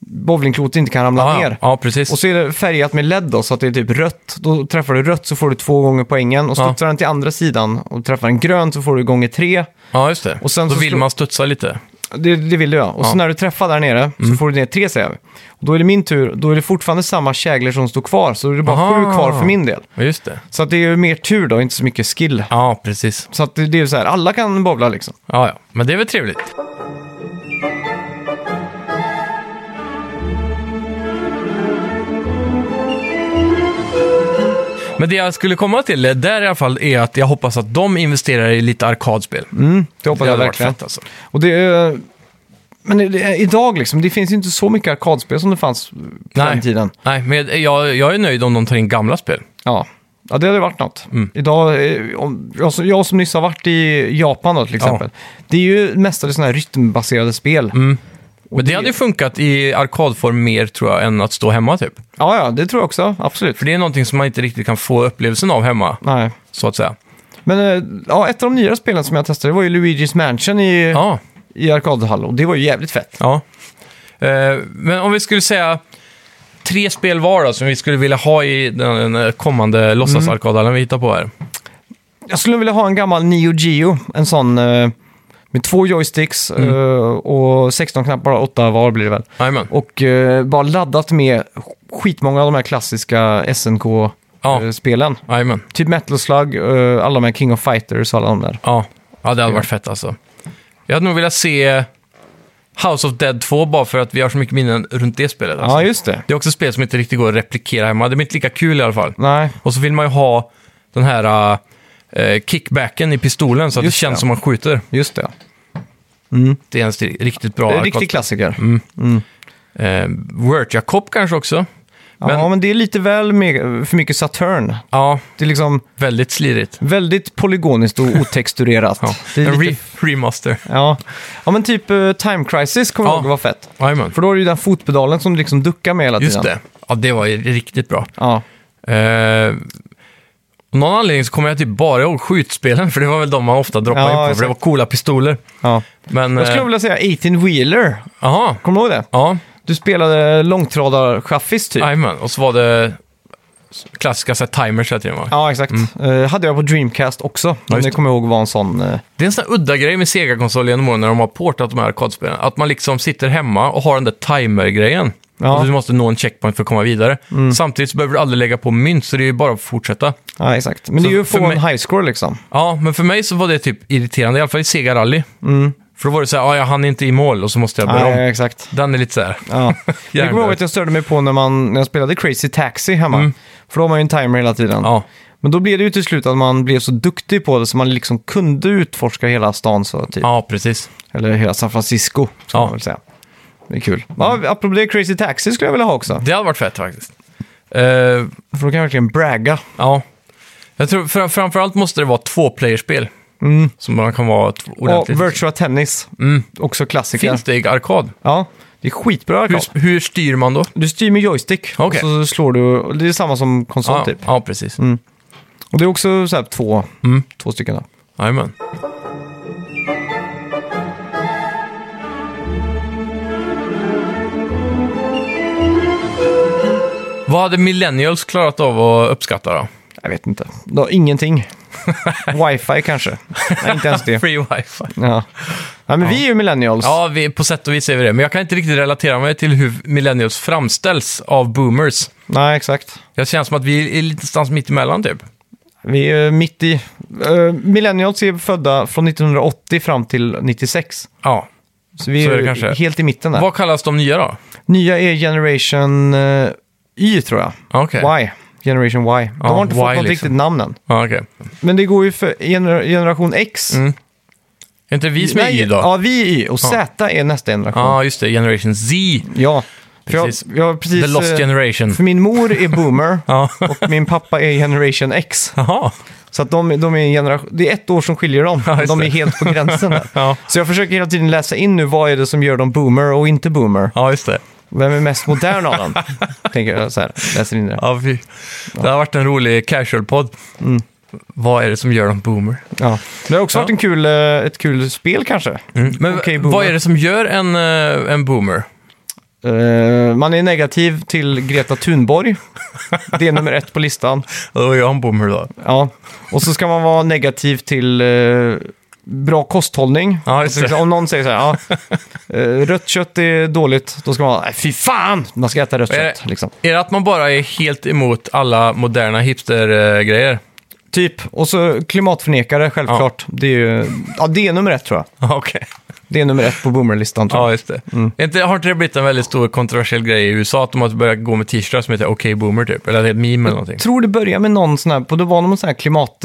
Speaker 1: bowlingklotet inte kan ramla
Speaker 2: ja, ja.
Speaker 1: ner.
Speaker 2: Ah, ja, precis.
Speaker 1: Och så är det färgat med LED då, så att det är typ rött. Då träffar du rött så får du två gånger poängen och
Speaker 2: Ja.
Speaker 1: studsar den till andra sidan och träffar den grön så får du gånger tre.
Speaker 2: ja, just det.
Speaker 1: och sen
Speaker 2: Då
Speaker 1: så
Speaker 2: vill
Speaker 1: slå-
Speaker 2: man studsa lite.
Speaker 1: Det, det vill du ja. Och så
Speaker 2: Ja. Mm.
Speaker 1: när du träffar där nere så får du ner tre säger vi. Och då är det min tur, då är det fortfarande samma käglor som står kvar, så då är det bara
Speaker 2: Aha.
Speaker 1: sju kvar för min del.
Speaker 2: Ja, just det.
Speaker 1: Så att det är ju mer tur då, inte så mycket skill.
Speaker 2: Ja, precis.
Speaker 1: Så att det, det är ju så här, alla kan bowla liksom.
Speaker 2: Ja, ja. Men det är väl trevligt. Men det jag skulle komma till eh, där i alla fall är att jag hoppas att de investerar i lite arkadspel.
Speaker 1: Det hoppas
Speaker 2: Det
Speaker 1: jag
Speaker 2: hade varit
Speaker 1: verkligen.
Speaker 2: fett alltså.
Speaker 1: Och det är... Men det, det, idag liksom, det finns ju inte så mycket arkadspel som det fanns på den tiden.
Speaker 2: Nej, men jag- jag, jag är nöjd om de tar in gamla spel.
Speaker 1: Ja. ja, det hade varit något.
Speaker 2: Mm.
Speaker 1: Idag, eh, om- jag, som- jag som nyss har varit i Japan då till exempel. Det är ju mestadels sådana här rytmbaserade spel.
Speaker 2: Mm. Men det, hade ju funkat i arkadform mer tror jag än att stå hemma typ.
Speaker 1: Ja, ja, det tror jag också. Absolut.
Speaker 2: För det är någonting som man inte riktigt kan få upplevelsen av hemma,
Speaker 1: Nej.
Speaker 2: så att säga.
Speaker 1: Men eh, ja, ett av de nyare spelen som jag testade var ju Luigi's Mansion i,
Speaker 2: Ja,
Speaker 1: i arkadhall och det var ju jävligt fett.
Speaker 2: ja. Eh, men om vi skulle säga tre spel var då, som vi skulle vilja ha i den den kommande låtsasarkadhallen vi hittar på här.
Speaker 1: Jag skulle vilja ha en gammal Neo Geo, en sån eh, med två joysticks
Speaker 2: Mm.
Speaker 1: eh, och 16 knappar, 8 var blir det väl.
Speaker 2: Jajamän.
Speaker 1: Och eh, bara laddat med skitmånga av de här klassiska
Speaker 2: Ja.
Speaker 1: SNK-spelen.
Speaker 2: Jajamän.
Speaker 1: eh, Typ Metal Slug, eh, alla de här King of Fighters och alla de där.
Speaker 2: Ja. ja, det hade varit fett alltså. Jag hade nog velat se House of Dead 2 bara för att vi har så mycket minnen runt det spelet. Alltså.
Speaker 1: Ja, just det.
Speaker 2: Det är också spel som inte riktigt går att replikera hemma. Det är inte lika kul i alla fall.
Speaker 1: Nej,
Speaker 2: Och så vill man ju ha den här eh, kickbacken i pistolen så att
Speaker 1: Just
Speaker 2: det känns
Speaker 1: det.
Speaker 2: som man skjuter.
Speaker 1: just det.
Speaker 2: Det är en sti- riktigt bra
Speaker 1: det är en
Speaker 2: arkad- Mm.
Speaker 1: riktig klassiker.
Speaker 2: Eh, Virtua Cop kanske också. Men-
Speaker 1: Ja, men det är lite väl me- för mycket Saturn.
Speaker 2: Ja,
Speaker 1: Det är liksom
Speaker 2: väldigt slirigt.
Speaker 1: väldigt polygoniskt och otexturerat.
Speaker 2: Ja.
Speaker 1: Det är
Speaker 2: En
Speaker 1: lite,
Speaker 2: re- remaster.
Speaker 1: ja. ja, men typ eh, Time Crisis kommer
Speaker 2: Ja.
Speaker 1: jag ihåg var fett.
Speaker 2: Jajamän,
Speaker 1: För då är det ju den fotpedalen som liksom duckar med hela
Speaker 2: just
Speaker 1: tiden.
Speaker 2: det. Ja, det var ju riktigt bra.
Speaker 1: Ja.
Speaker 2: Eh, av någon anledning så kommer jag typ bara ihåg skjutspelen, för det var väl de man ofta droppade
Speaker 1: Ja,
Speaker 2: in på, för det
Speaker 1: exakt.
Speaker 2: var coola pistoler.
Speaker 1: Ja.
Speaker 2: Men, eh,
Speaker 1: Jag skulle vilja säga 18-wheeler.
Speaker 2: aha,
Speaker 1: Kommer du ihåg det?
Speaker 2: ja,
Speaker 1: Du spelade långtradarchaffis typ.
Speaker 2: jajamän. Och så var det klassiska så här, timers hela tiden va?
Speaker 1: Ja, exakt. Eh, hade jag på Dreamcast också. Men
Speaker 2: Mm. just
Speaker 1: det
Speaker 2: det.
Speaker 1: kommer jag ihåg var en sån... eh,
Speaker 2: Det är en sån här udda grej med Sega-konsoler genom åren när de har portat de här arkadspelen. Att man liksom sitter hemma och har den där timer-grejen.
Speaker 1: Ja. Mm.
Speaker 2: Och du måste nå en checkpoint för att komma vidare. Samtidigt så behöver du aldrig lägga på mynt, så det är ju bara att fortsätta.
Speaker 1: Ja, exakt. Men det är
Speaker 2: Så
Speaker 1: ju att
Speaker 2: för
Speaker 1: få en
Speaker 2: mig-
Speaker 1: highscore liksom.
Speaker 2: Ja, men för mig så var det typ irriterande, i alla fall i Sega Rally.
Speaker 1: Mm.
Speaker 2: För då var det så här, ah, jag hann inte i mål och så måste jag börja
Speaker 1: Ja,
Speaker 2: om.
Speaker 1: exakt.
Speaker 2: Den är lite så här.
Speaker 1: Ja. jag kommer ihåg
Speaker 2: Hjärndöd.
Speaker 1: att jag störde mig på när, man, när jag spelade Crazy Taxi hemma. För då har man ju en timer hela tiden.
Speaker 2: Mm. Ja,
Speaker 1: Men då blev det ju till slut att man blev så duktig på det så man liksom kunde utforska hela stan så typ.
Speaker 2: ja precis.
Speaker 1: Eller hela San Francisco, ska
Speaker 2: Ja.
Speaker 1: man väl säga. Det är kul. Ja, apropå det, Crazy Taxi skulle jag vilja ha också.
Speaker 2: Det hade varit fett faktiskt. Eh,
Speaker 1: För då kan jag verkligen bragga.
Speaker 2: ja. Jag tror fram- framförallt måste det vara två-playerspel.
Speaker 1: Mm.
Speaker 2: Som man kan vara t-
Speaker 1: Och
Speaker 2: ordentligt.
Speaker 1: Virtua Tennis,
Speaker 2: Mm.
Speaker 1: också klassiker.
Speaker 2: Finns det i arkad?
Speaker 1: Ja, det är skitbra arkad.
Speaker 2: Hur, hur styr man då?
Speaker 1: Du styr med joystick och
Speaker 2: Okej.
Speaker 1: så slår du, och det är samma som konsol
Speaker 2: ja,
Speaker 1: typ.
Speaker 2: ja, precis.
Speaker 1: Och det är också så här två,
Speaker 2: Mm.
Speaker 1: två stycken. Då.
Speaker 2: Jajamän. Vad hade millennials klarat av att uppskatta då?
Speaker 1: Jag vet inte. Då, ingenting. Wifi kanske. Nej, inte ens det.
Speaker 2: Free wifi.
Speaker 1: Ja. Ja, men vi är ju millennials.
Speaker 2: Ja, vi, på sätt och vis är vi det. Men jag kan inte riktigt relatera mig till hur millennials framställs av boomers.
Speaker 1: Nej, exakt.
Speaker 2: Jag känner som att vi är lite stans mitt emellan typ.
Speaker 1: Vi är mitt i... eh, millennials är födda från 1980 fram till 96.
Speaker 2: Ja.
Speaker 1: Så vi
Speaker 2: Så är
Speaker 1: är,
Speaker 2: det kanske.
Speaker 1: helt i mitten där.
Speaker 2: Vad kallas de nya då?
Speaker 1: Nya är Generation eh, Y, tror jag.
Speaker 2: Okej.
Speaker 1: Y. Generation Y. De
Speaker 2: Ja,
Speaker 1: har inte
Speaker 2: Y
Speaker 1: fått något
Speaker 2: liksom.
Speaker 1: riktigt namn än.
Speaker 2: Ja, okej.
Speaker 1: Men det går ju för gener Generation X.
Speaker 2: Mm. Är inte vi som är
Speaker 1: Nej,
Speaker 2: Y då? Ja,
Speaker 1: Ja, vi är Y. Och Z är nästa generation.
Speaker 2: just det. Generation Z.
Speaker 1: Ja. För jag,
Speaker 2: Precis.
Speaker 1: jag har precis...
Speaker 2: The lost
Speaker 1: eh,
Speaker 2: generation.
Speaker 1: För min mor är boomer
Speaker 2: Ja.
Speaker 1: och min pappa är generation X.
Speaker 2: Jaha.
Speaker 1: Så att de, de är en generation, det är ett år som skiljer dem.
Speaker 2: Ja, just
Speaker 1: de är
Speaker 2: det.
Speaker 1: helt på gränsen där.
Speaker 2: Ja.
Speaker 1: Så jag försöker hela tiden läsa in nu vad är det som gör dem boomer och inte boomer.
Speaker 2: Ja, just det.
Speaker 1: Vem är mest modern av dem? Tänker jag så här, läser in det.
Speaker 2: Ja, fy. Det har varit en rolig casual-podd. Vad är det som gör dem boomer?
Speaker 1: Ja. Det har också varit en kul, eh, ett kul spel kanske.
Speaker 2: Mm. Men
Speaker 1: Okej, boomer.
Speaker 2: vad är det som gör en, eh, en boomer?
Speaker 1: Eh, man är negativ till Greta Thunborg. Det är nummer ett på listan.
Speaker 2: Ja, Då är jag en boomer då.
Speaker 1: Ja. Och så ska man vara negativ till eh, bra kosthållning.
Speaker 2: Ja, just
Speaker 1: alltså,
Speaker 2: det.
Speaker 1: liksom, om någon säger så här, ja, eh, rött kött är dåligt, då ska man vara, "Nej, fy fan, man ska äta rött
Speaker 2: Är det-
Speaker 1: kött. Liksom.
Speaker 2: Är det att man bara är helt emot alla moderna hipster-grejer?
Speaker 1: Typ. Och så klimatförnekare, självklart. Det, är ju, ja, det är nummer ett tror jag.
Speaker 2: Ja, Okej.
Speaker 1: Det är nummer ett på boomerlistan tror jag.
Speaker 2: Ja, Mm. just det. Är Inte, har inte det blivit en väldigt stor kontroversiell grej i USA att de har börjat gå med t-shirtar som heter Okej Boomer typ? Eller att det är ett meme eller någonting?
Speaker 1: Jag tror det började med någon sån här, på- det var någon sån här klimatgrej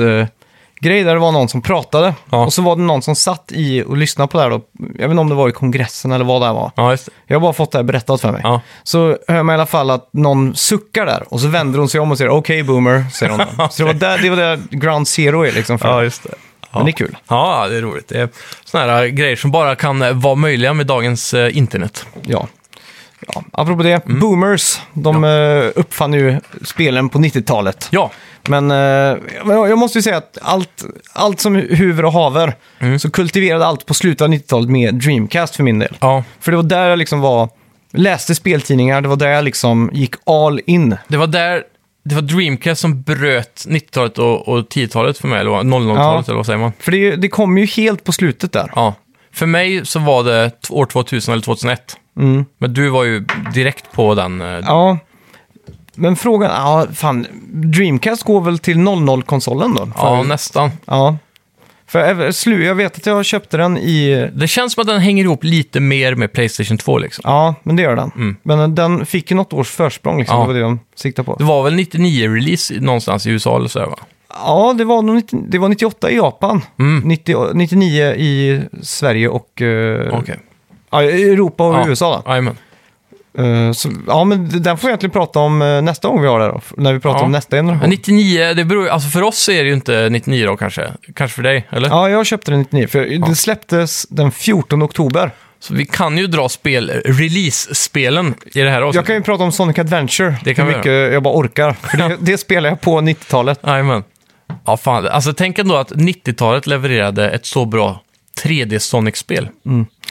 Speaker 1: där det var någon som pratade.
Speaker 2: Ja.
Speaker 1: Och så var det någon som satt i och lyssnade på det här då. Jag vet inte om det var i kongressen eller vad det här var.
Speaker 2: Ja, just det.
Speaker 1: Jag har bara fått det här berättat för mig.
Speaker 2: Ja.
Speaker 1: Så hör man i alla fall att någon suckar där och så vänder hon sig om och säger okej boomer, säger hon. då. Så det var där, det var där ground zero är liksom. För.
Speaker 2: Ja, just det.
Speaker 1: Men det är kul.
Speaker 2: Ja, det är roligt. Det är såna här grejer som bara kan eh, vara möjliga med dagens eh, internet.
Speaker 1: Ja. Ja. Apropå det,
Speaker 2: Mm.
Speaker 1: boomers, de eh, uppfann ju spelen på 90-talet.
Speaker 2: Ja,
Speaker 1: Men eh, men jag jag måste ju säga att allt, allt som huvud och haver,
Speaker 2: Mm.
Speaker 1: så kultiverade allt på slutet av 90-talet med Dreamcast för min del.
Speaker 2: ja.
Speaker 1: För det var där jag liksom var, läste speltidningar, det var där jag liksom gick all in.
Speaker 2: Det var där, det var Dreamcast som bröt 90-talet och, och 10-talet för mig, eller vad- 00-talet
Speaker 1: Ja.
Speaker 2: eller vad säger man?
Speaker 1: För det, det kom ju helt på slutet där.
Speaker 2: Ja. För mig så var det t- år 2000 eller 2001. Men du var ju direkt på den. eh,
Speaker 1: Mm. Ja. Men frågan, ja fan, Dreamcast går väl till 00-konsolen då?
Speaker 2: ja,
Speaker 1: För-
Speaker 2: nästan.
Speaker 1: ja. För jag- slu- jag vet att jag köpte den i...
Speaker 2: Det känns som att den hänger ihop lite mer med Playstation 2 liksom.
Speaker 1: Ja, men det gör den. Men den fick ju något års försprång liksom,
Speaker 2: Mm. Ja.
Speaker 1: det var det de siktade på.
Speaker 2: Det var väl 99-release någonstans i USA eller sådär va?
Speaker 1: Ja, det var, nog 90, det var 98 i Japan,
Speaker 2: Mm.
Speaker 1: 90, 99 i Sverige och eh,
Speaker 2: Okej.
Speaker 1: ja, Europa och
Speaker 2: Ja.
Speaker 1: USA. Då.
Speaker 2: Jajamän.
Speaker 1: Eh, så, ja, men d- den får vi egentligen prata om eh, nästa gång vi har det här då, f- när vi pratar
Speaker 2: Ja.
Speaker 1: om nästa
Speaker 2: Men
Speaker 1: generation.
Speaker 2: 99, det beror, ju- alltså för oss är det ju inte 99 då kanske. Kanske för dig, eller?
Speaker 1: Ja, jag köpte den 99, för den släpptes den 14 oktober.
Speaker 2: Så vi kan ju dra spel, release-spelen i det här
Speaker 1: Jag kan
Speaker 2: avsnittet.
Speaker 1: ju prata om Sonic Adventure,
Speaker 2: Det kan vi
Speaker 1: hur mycket jag bara orkar. För det, det spelar jag på 90-talet.
Speaker 2: Jajamän. Ja, fan. Alltså tänk ändå att 90-talet levererade ett så bra 3D-Sonic-spel.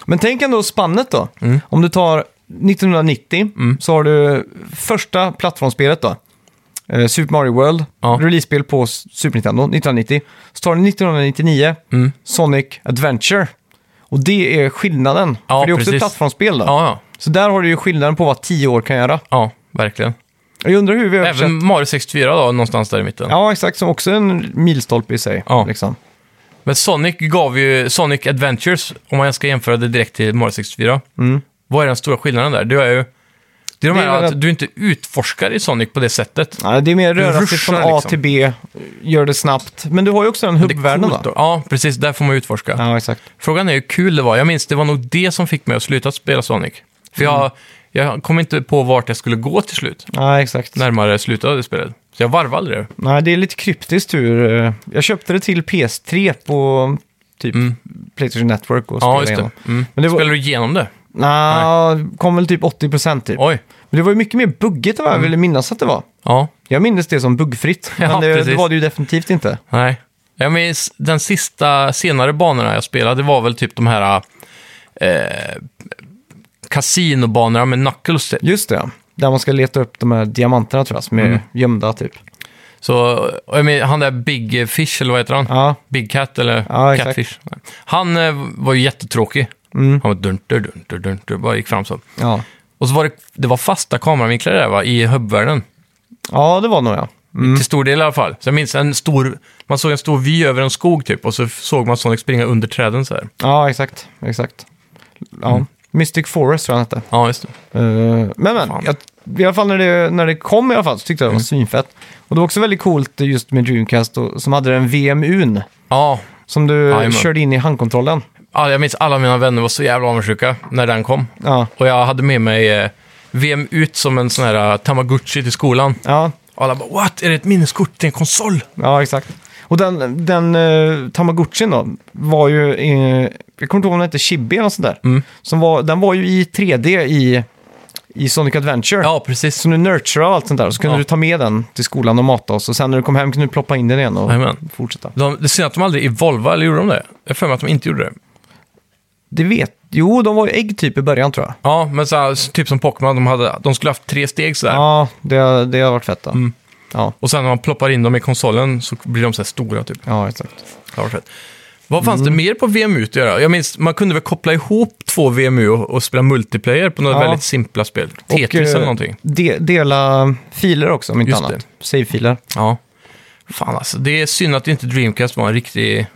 Speaker 1: Men tänk ändå spannet då.
Speaker 2: Mm.
Speaker 1: Om du tar 1990 så har du första plattformsspelet då. Eh, Super Mario World,
Speaker 2: Ja.
Speaker 1: release-spel på S- Super Nintendo 1990. Så tar du 1999,
Speaker 2: Mm.
Speaker 1: Sonic Adventure. Och det är skillnaden.
Speaker 2: Ja,
Speaker 1: för det är också ett
Speaker 2: precis.
Speaker 1: plattformsspel då.
Speaker 2: Ja, ja.
Speaker 1: Så där har du ju skillnaden på vad 10 år kan göra.
Speaker 2: Ja, verkligen.
Speaker 1: Jag undrar hur vi översätter...
Speaker 2: Även Mario 64 då, någonstans där i mitten.
Speaker 1: Ja, exakt. Som också är en milstolpe i sig.
Speaker 2: Ja.
Speaker 1: Liksom.
Speaker 2: Men Sonic gav ju Sonic Adventures, om man ska jämföra det direkt till Mario 64. Vad är den stora skillnaden där? Du är ju... Det är de
Speaker 1: Mm. Det är
Speaker 2: här
Speaker 1: väl
Speaker 2: att
Speaker 1: att-
Speaker 2: du inte utforskar i Sonic på det sättet.
Speaker 1: Ja, det är mer röra sig
Speaker 2: ruschar
Speaker 1: från A
Speaker 2: liksom.
Speaker 1: till B, gör det snabbt. Men du har ju också den
Speaker 2: Det är
Speaker 1: hubbvärlden
Speaker 2: coolt
Speaker 1: då.
Speaker 2: då. Ja, precis. Där får man utforska.
Speaker 1: Ja, exakt.
Speaker 2: Frågan är hur kul det var. Jag minns, det var nog det som fick mig att sluta spela Sonic. För
Speaker 1: Mm.
Speaker 2: jag, jag kom inte på vart jag skulle gå till slut,
Speaker 1: Ja, exakt.
Speaker 2: närmare slutet av det spelet. Så jag varvade aldrig det.
Speaker 1: Nej, det är lite kryptiskt hur... eh, Jag köpte det till PS3 på typ Playstation Network och
Speaker 2: Mm.
Speaker 1: spelade
Speaker 2: Ja, just det.
Speaker 1: igenom.
Speaker 2: Mm.
Speaker 1: Men det var,
Speaker 2: Spelade du igenom det?
Speaker 1: Nja, kom väl typ 80% typ.
Speaker 2: Oj.
Speaker 1: Men det var ju mycket mer buggigt än vad jag ville minnas att det var.
Speaker 2: Ja.
Speaker 1: Jag minns det som buggfritt,
Speaker 2: Mm. Ja,
Speaker 1: men det, det
Speaker 2: precis.
Speaker 1: var det ju definitivt inte.
Speaker 2: Nej. Jag minns den sista senare banorna jag spelade, det var väl typ de här eh, kasinobanorna med Knuckles. typ.
Speaker 1: Just det, ja. där man ska leta upp de här diamanterna tror jag, som är
Speaker 2: Mm.
Speaker 1: gömda typ.
Speaker 2: Så, och jag minns, han där Big Fish, eller vad heter han?
Speaker 1: Ja,
Speaker 2: Big Cat eller
Speaker 1: Ja, exakt. Mm.
Speaker 2: Catfish. Han eh, var ju jättetråkig. Han var dunter, dunter, dunter, bara gick fram så.
Speaker 1: ja.
Speaker 2: Och så var det, det var fasta kameravinklar där va, i hubbvärlden.
Speaker 1: ja det var nog jag.
Speaker 2: Till stor del i alla fall. Så jag minns en stor, man såg en stor vy över en skog typ och så såg man Sonic springa under träden så här.
Speaker 1: Ja, exakt. exakt. Ja.
Speaker 2: Mm.
Speaker 1: Mystic Forest tror jag den hette.
Speaker 2: Ja, just det.
Speaker 1: Eh, men men,
Speaker 2: Fan. Mm.
Speaker 1: jag, i alla fall när det, när det kom i alla fall så tyckte jag det var svinfett. Och det var också väldigt coolt just med Dreamcast och, som hade den VMUn
Speaker 2: Ja.
Speaker 1: som du
Speaker 2: Jajamän.
Speaker 1: körde in i handkontrollen.
Speaker 2: ja, jag minns alla mina vänner var så jävla avundsjuka när den kom.
Speaker 1: Ja,
Speaker 2: Och jag hade med mig eh, VM ut som en sån här eh, Tamagotchi till skolan.
Speaker 1: ja,
Speaker 2: Och alla bara “What? Är det ett minneskort till en konsol?”
Speaker 1: ja exakt. Och den, den eh, Tamagotchin då, var ju, eh, jag kommer inte ihåg om den hette Chibi eller något sånt där.
Speaker 2: Mm.
Speaker 1: Som var, den var ju i 3D i, i Sonic Adventure.
Speaker 2: Ja, precis.
Speaker 1: Så du nurturade och allt sånt där och så kunde
Speaker 2: Ja.
Speaker 1: du ta med den till skolan och mata oss. Och sen när du kom hem kunde du ploppa in den igen och
Speaker 2: Jajamän.
Speaker 1: fortsätta.
Speaker 2: De, det är synd att de aldrig evolvade, eller gjorde de det? Jag har för mig att de inte gjorde det.
Speaker 1: Det vet... Jo, de var ju ägg typ i början tror jag.
Speaker 2: Ja, men så här, typ som Pokémon, de, hade, de skulle haft tre steg sådär.
Speaker 1: Ja, det, det har varit fett. Då.
Speaker 2: Mm.
Speaker 1: Ja,
Speaker 2: Och sen när man ploppar in dem i konsolen så blir de så här stora typ.
Speaker 1: ja, exakt.
Speaker 2: Det har varit fett. Vad fanns
Speaker 1: Mm.
Speaker 2: det mer på VMU att göra? Jag minns, man kunde väl koppla ihop två VMU och, och spela multiplayer på några
Speaker 1: Ja.
Speaker 2: väldigt simpla spel.
Speaker 1: eh,
Speaker 2: Tetris eller någonting.
Speaker 1: De, dela filer också om inte
Speaker 2: Just
Speaker 1: annat. Save-filer.
Speaker 2: Ja. Fan alltså, det är synd att inte Dreamcast var en riktig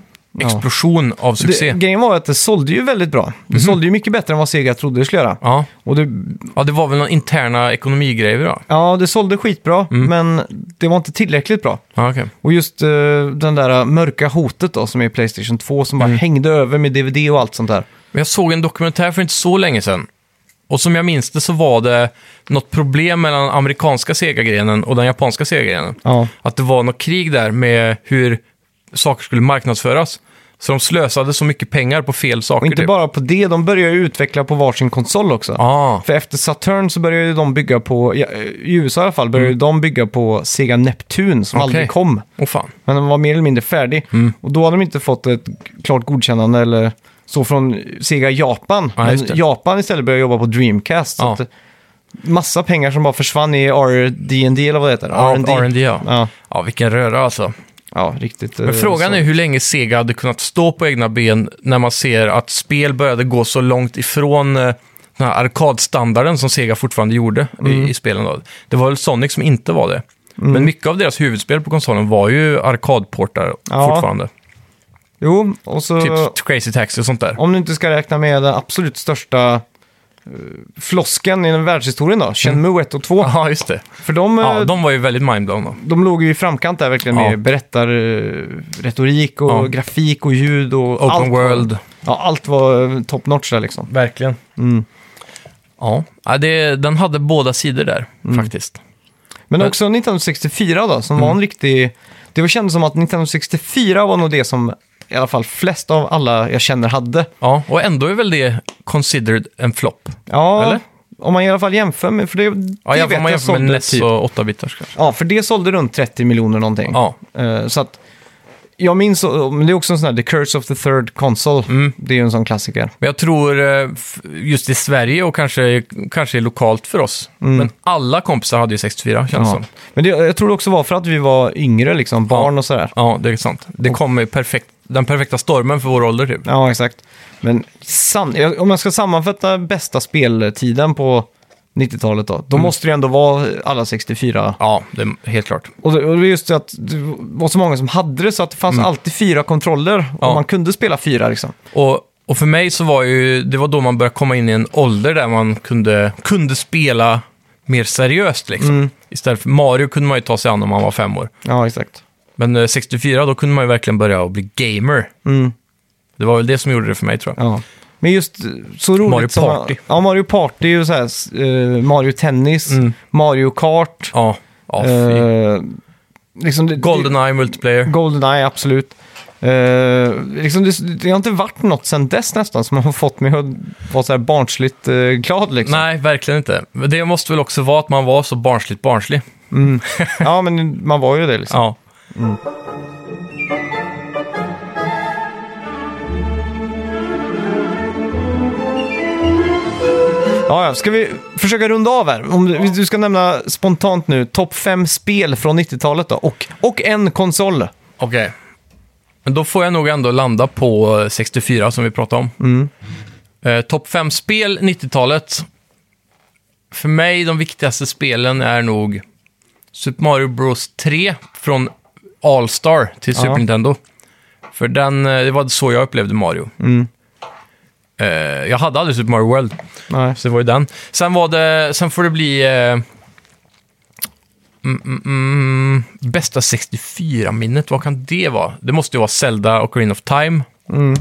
Speaker 2: explosion av
Speaker 1: Det,
Speaker 2: succé. Mhm.
Speaker 1: grejen var att det sålde ju väldigt bra. Det sålde ju mycket bättre än vad Sega trodde det skulle göra.
Speaker 2: Ja.
Speaker 1: Och det,
Speaker 2: ja, det var väl någon interna ekonomigrejer då?
Speaker 1: ja, det sålde skitbra,
Speaker 2: Mm.
Speaker 1: men det var inte tillräckligt bra.
Speaker 2: Ja, okej.
Speaker 1: Och just eh, den där mörka hotet då, som är Playstation 2, som bara
Speaker 2: Mm.
Speaker 1: hängde över med DVD och allt sånt där.
Speaker 2: Men jag såg en dokumentär för inte så länge sedan. Och som jag minns det så var det något problem mellan amerikanska Sega-grenen och den japanska Sega-grenen.
Speaker 1: Ja.
Speaker 2: Att det var något krig där med hur saker skulle marknadsföras. Så de slösade så mycket pengar på fel saker.
Speaker 1: Och inte
Speaker 2: typ.
Speaker 1: bara på det, de började ju utveckla på varsin konsol också.
Speaker 2: Ah,
Speaker 1: För efter Saturn så började ju de bygga på, ja, eh, i USA i alla fall, började ju de bygga på Sega Neptune som
Speaker 2: Mm. Okej. Mm.
Speaker 1: aldrig kom.
Speaker 2: åh fan.
Speaker 1: Men den var mer eller mindre färdig. Och då hade de inte fått ett klart godkännande eller så från Sega Japan.
Speaker 2: Ja, just det.
Speaker 1: Men Japan istället började jobba på Dreamcast.
Speaker 2: Ja.
Speaker 1: Så att, eh, massa pengar som bara försvann i R&D eller vad det heter.
Speaker 2: Ja, R&D, ja.
Speaker 1: Ja,
Speaker 2: Ja, vilken röra alltså.
Speaker 1: ja riktigt. eh,
Speaker 2: Men frågan är hur länge Sega hade kunnat stå på egna ben när man ser att spel började gå så långt ifrån eh, den här arkadstandarden som Sega fortfarande gjorde
Speaker 1: Mm.
Speaker 2: i, i spelen. Då. Det var väl Sonic som inte var det. Men mycket av deras huvudspel på konsolen var ju arkadportar
Speaker 1: Ja. Eh.
Speaker 2: fortfarande.
Speaker 1: Jo, och så...
Speaker 2: Typ Crazy Taxi och sånt där.
Speaker 1: Om du inte ska räkna med den absolut största eh, flosken i världshistorien då, Shenmue 1 och 2.
Speaker 2: Mm. Ja, just det.
Speaker 1: För de, eh,
Speaker 2: Ja,
Speaker 1: de...
Speaker 2: de var ju väldigt mindblown. då.
Speaker 1: låg ju i framkant där verkligen
Speaker 2: Ja.
Speaker 1: med berättarretorik och
Speaker 2: Ja.
Speaker 1: grafik och ljud och
Speaker 2: Open
Speaker 1: allt. var-
Speaker 2: World.
Speaker 1: Ja, allt var eh, top notch där liksom.
Speaker 2: Verkligen. Ja, ja det, den hade båda sidor där
Speaker 1: Mm.
Speaker 2: faktiskt.
Speaker 1: Men också 1964 då, som var
Speaker 2: Mm.
Speaker 1: en riktig... Det var- kändes som att 1964 var nog det som i alla fall flest av alla jag känner hade.
Speaker 2: Ja, och ändå är väl det considered en flopp?
Speaker 1: Ja,
Speaker 2: Eller?
Speaker 1: om man i alla fall jämför med... För det,
Speaker 2: Ja,
Speaker 1: det
Speaker 2: jag,
Speaker 1: vet
Speaker 2: om man
Speaker 1: jag
Speaker 2: jämför med
Speaker 1: sålde
Speaker 2: NES
Speaker 1: typ-
Speaker 2: och 8-bitars kanske.
Speaker 1: Ja, för det sålde runt 30 miljoner någonting.
Speaker 2: Ja,
Speaker 1: Eh, så att... Jag minns, men det är också en sån här The Curse of the Third Console.
Speaker 2: Mm.
Speaker 1: Det är ju en sån klassiker.
Speaker 2: men jag tror eh, f- just i Sverige och kanske, kanske lokalt för oss. Men alla kompisar hade ju 64, känns det
Speaker 1: Ja.
Speaker 2: som.
Speaker 1: Men det, jag tror det också var för att vi var yngre, liksom barn och sådär.
Speaker 2: Ja, det är sant. Det kommer ju perfekt, den perfekta stormen för vår ålder typ.
Speaker 1: Ja, exakt. Men san, jag- om jag ska sammanfatta bästa speltiden på 90-talet då,
Speaker 2: Mm.
Speaker 1: då måste det ändå vara alla 64.
Speaker 2: Ja, det är helt klart.
Speaker 1: Och det och det är just det att det var så många som hade det, så att det fanns alltid fyra kontroller och
Speaker 2: Mm. Ja.
Speaker 1: man kunde spela fyra liksom.
Speaker 2: Och, och för mig så var ju, det var då man började komma in i en ålder där man kunde, kunde spela mer seriöst liksom. Istället för Mario kunde man ju ta sig an om man var fem år.
Speaker 1: Ja, exakt.
Speaker 2: Men eh, 64, då kunde man ju verkligen börja att bli gamer.
Speaker 1: Mm.
Speaker 2: Det var väl det som gjorde det för mig tror jag.
Speaker 1: Ja. Men just så roligt
Speaker 2: Mario
Speaker 1: som...
Speaker 2: Party.
Speaker 1: Ja, Mario Party och så här, s- eh, Mario Tennis, Mario Kart.
Speaker 2: Ja, Mm. ja fy.
Speaker 1: eh, liksom det-
Speaker 2: Goldeneye multiplayer.
Speaker 1: Goldeneye, absolut. Eh, liksom det, det har inte varit något sen dess nästan som har fått mig att vara så här barnsligt eh, glad. Liksom.
Speaker 2: Nej, verkligen inte. Men Det måste väl också vara att man var så barnsligt barnslig.
Speaker 1: Ja, men man var ju det liksom.
Speaker 2: Ja.
Speaker 1: Ja, ja. Ska vi försöka runda av här? Om du, du ska nämna spontant nu topp fem spel från 90-talet då. Och, och en konsol.
Speaker 2: Okej. Men då får jag nog ändå landa på eh, 64 som vi pratade om. Mm. Eh, Topp 5-spel 90-talet. För mig de viktigaste spelen är nog Super Mario Bros 3 från All-Star till Super Nintendo. För den, eh, det var så jag upplevde Mario. Eh, jag hade aldrig Super Mario World.
Speaker 1: Nej.
Speaker 2: Så det var ju den. Sen, var det, sen får det bli... Eh, mm, mm, mm, bästa 64-minnet, vad kan det vara? Det måste ju vara Zelda och Green of Time.
Speaker 1: Mm.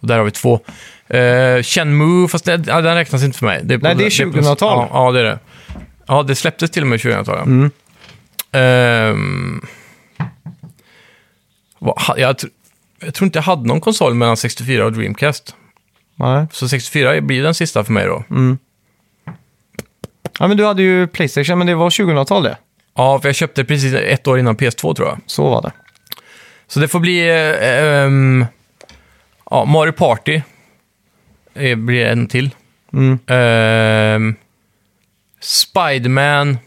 Speaker 2: Och där har vi två. Eh, Shenmue, fast det, ja, den räknas inte för mig. på-
Speaker 1: Nej, det är
Speaker 2: på-
Speaker 1: 2000-tal.
Speaker 2: Ja, ja, det är det. Ja, det släpptes till och med 2000-tal. Ja.
Speaker 1: Mm.
Speaker 2: Ehm, vad ha- jag, tr- jag tror inte jag hade någon konsol mellan 64 och Dreamcast.
Speaker 1: Nej.
Speaker 2: Så 64 blir den sista för mig då.
Speaker 1: Ja, men du hade ju Playstation, men det var 2000-tal det.
Speaker 2: Ja, för jag köpte precis ett år innan PS2 tror jag.
Speaker 1: Så var det.
Speaker 2: Så det får bli... eh, ehm, ja, Mario Party eh, blir en till.
Speaker 1: Mm.
Speaker 2: Ehm, Spiderman...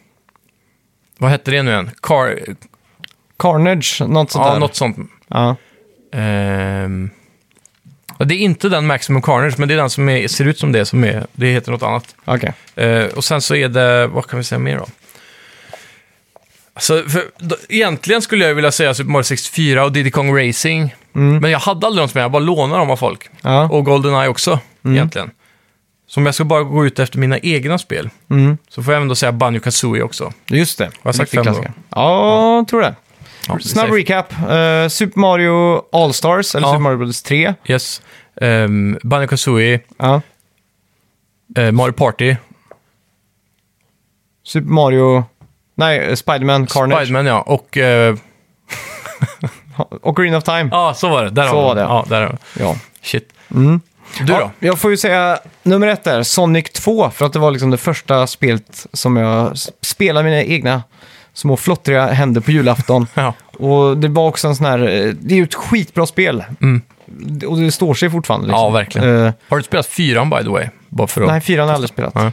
Speaker 2: Vad hette det nu än? Car...
Speaker 1: Carnage, något sånt
Speaker 2: Ja,
Speaker 1: där.
Speaker 2: något sånt.
Speaker 1: Ja.
Speaker 2: Ehm, ja, det är inte den Maximum Carnage, men det är den som är, ser ut som det som är... Det heter något annat.
Speaker 1: Okej.
Speaker 2: Eh, och sen så är det, vad kan vi säga mer då? Alltså, för, då egentligen skulle jag vilja säga Super Mario 64 och Diddy Kong Racing. Men jag hade aldrig dem som jag, jag bara lånade dem av folk.
Speaker 1: Mm. Ja. Mm.
Speaker 2: Och Goldeneye också, egentligen. Så om jag ska bara gå ut efter mina egna spel,
Speaker 1: Mm.
Speaker 2: så får jag även då säga Banjo Kazooie också.
Speaker 1: Just det.
Speaker 2: jag sagt
Speaker 1: Riktig
Speaker 2: fem då?
Speaker 1: klassiker. Ja, jag tror det.
Speaker 2: Ja, vi
Speaker 1: Snabb
Speaker 2: säger-
Speaker 1: recap. Eh, Super Mario All-Stars, eller
Speaker 2: Ja.
Speaker 1: Super Mario Bros 3.
Speaker 2: Yes. Um, Banjo Kazooie,
Speaker 1: Ja.
Speaker 2: eh, Mario Party,
Speaker 1: Super Mario... Nej, eh, Spiderman, Carnage
Speaker 2: Spiderman ja, och... eh,
Speaker 1: och Green of Time.
Speaker 2: Ja, så var det. Där
Speaker 1: Så
Speaker 2: har vi
Speaker 1: var
Speaker 2: den.
Speaker 1: det.
Speaker 2: Ja, där har vi den.
Speaker 1: Ja. Mm.
Speaker 2: Shit. Du då?
Speaker 1: Ja, jag får ju säga nummer ett där, Sonic 2, för att det var liksom det första spelet som jag s- spelade med mina egna små flottriga händer på julafton.
Speaker 2: Ja.
Speaker 1: och det var också en sån här, eh, det är ju ett skitbra spel. Och det står sig fortfarande. Liksom.
Speaker 2: Mm. Ja, verkligen.
Speaker 1: Eh,
Speaker 2: Har du spelat fyran by the way? Bara för att...
Speaker 1: nej, fyran har jag aldrig spelat.
Speaker 2: Nej.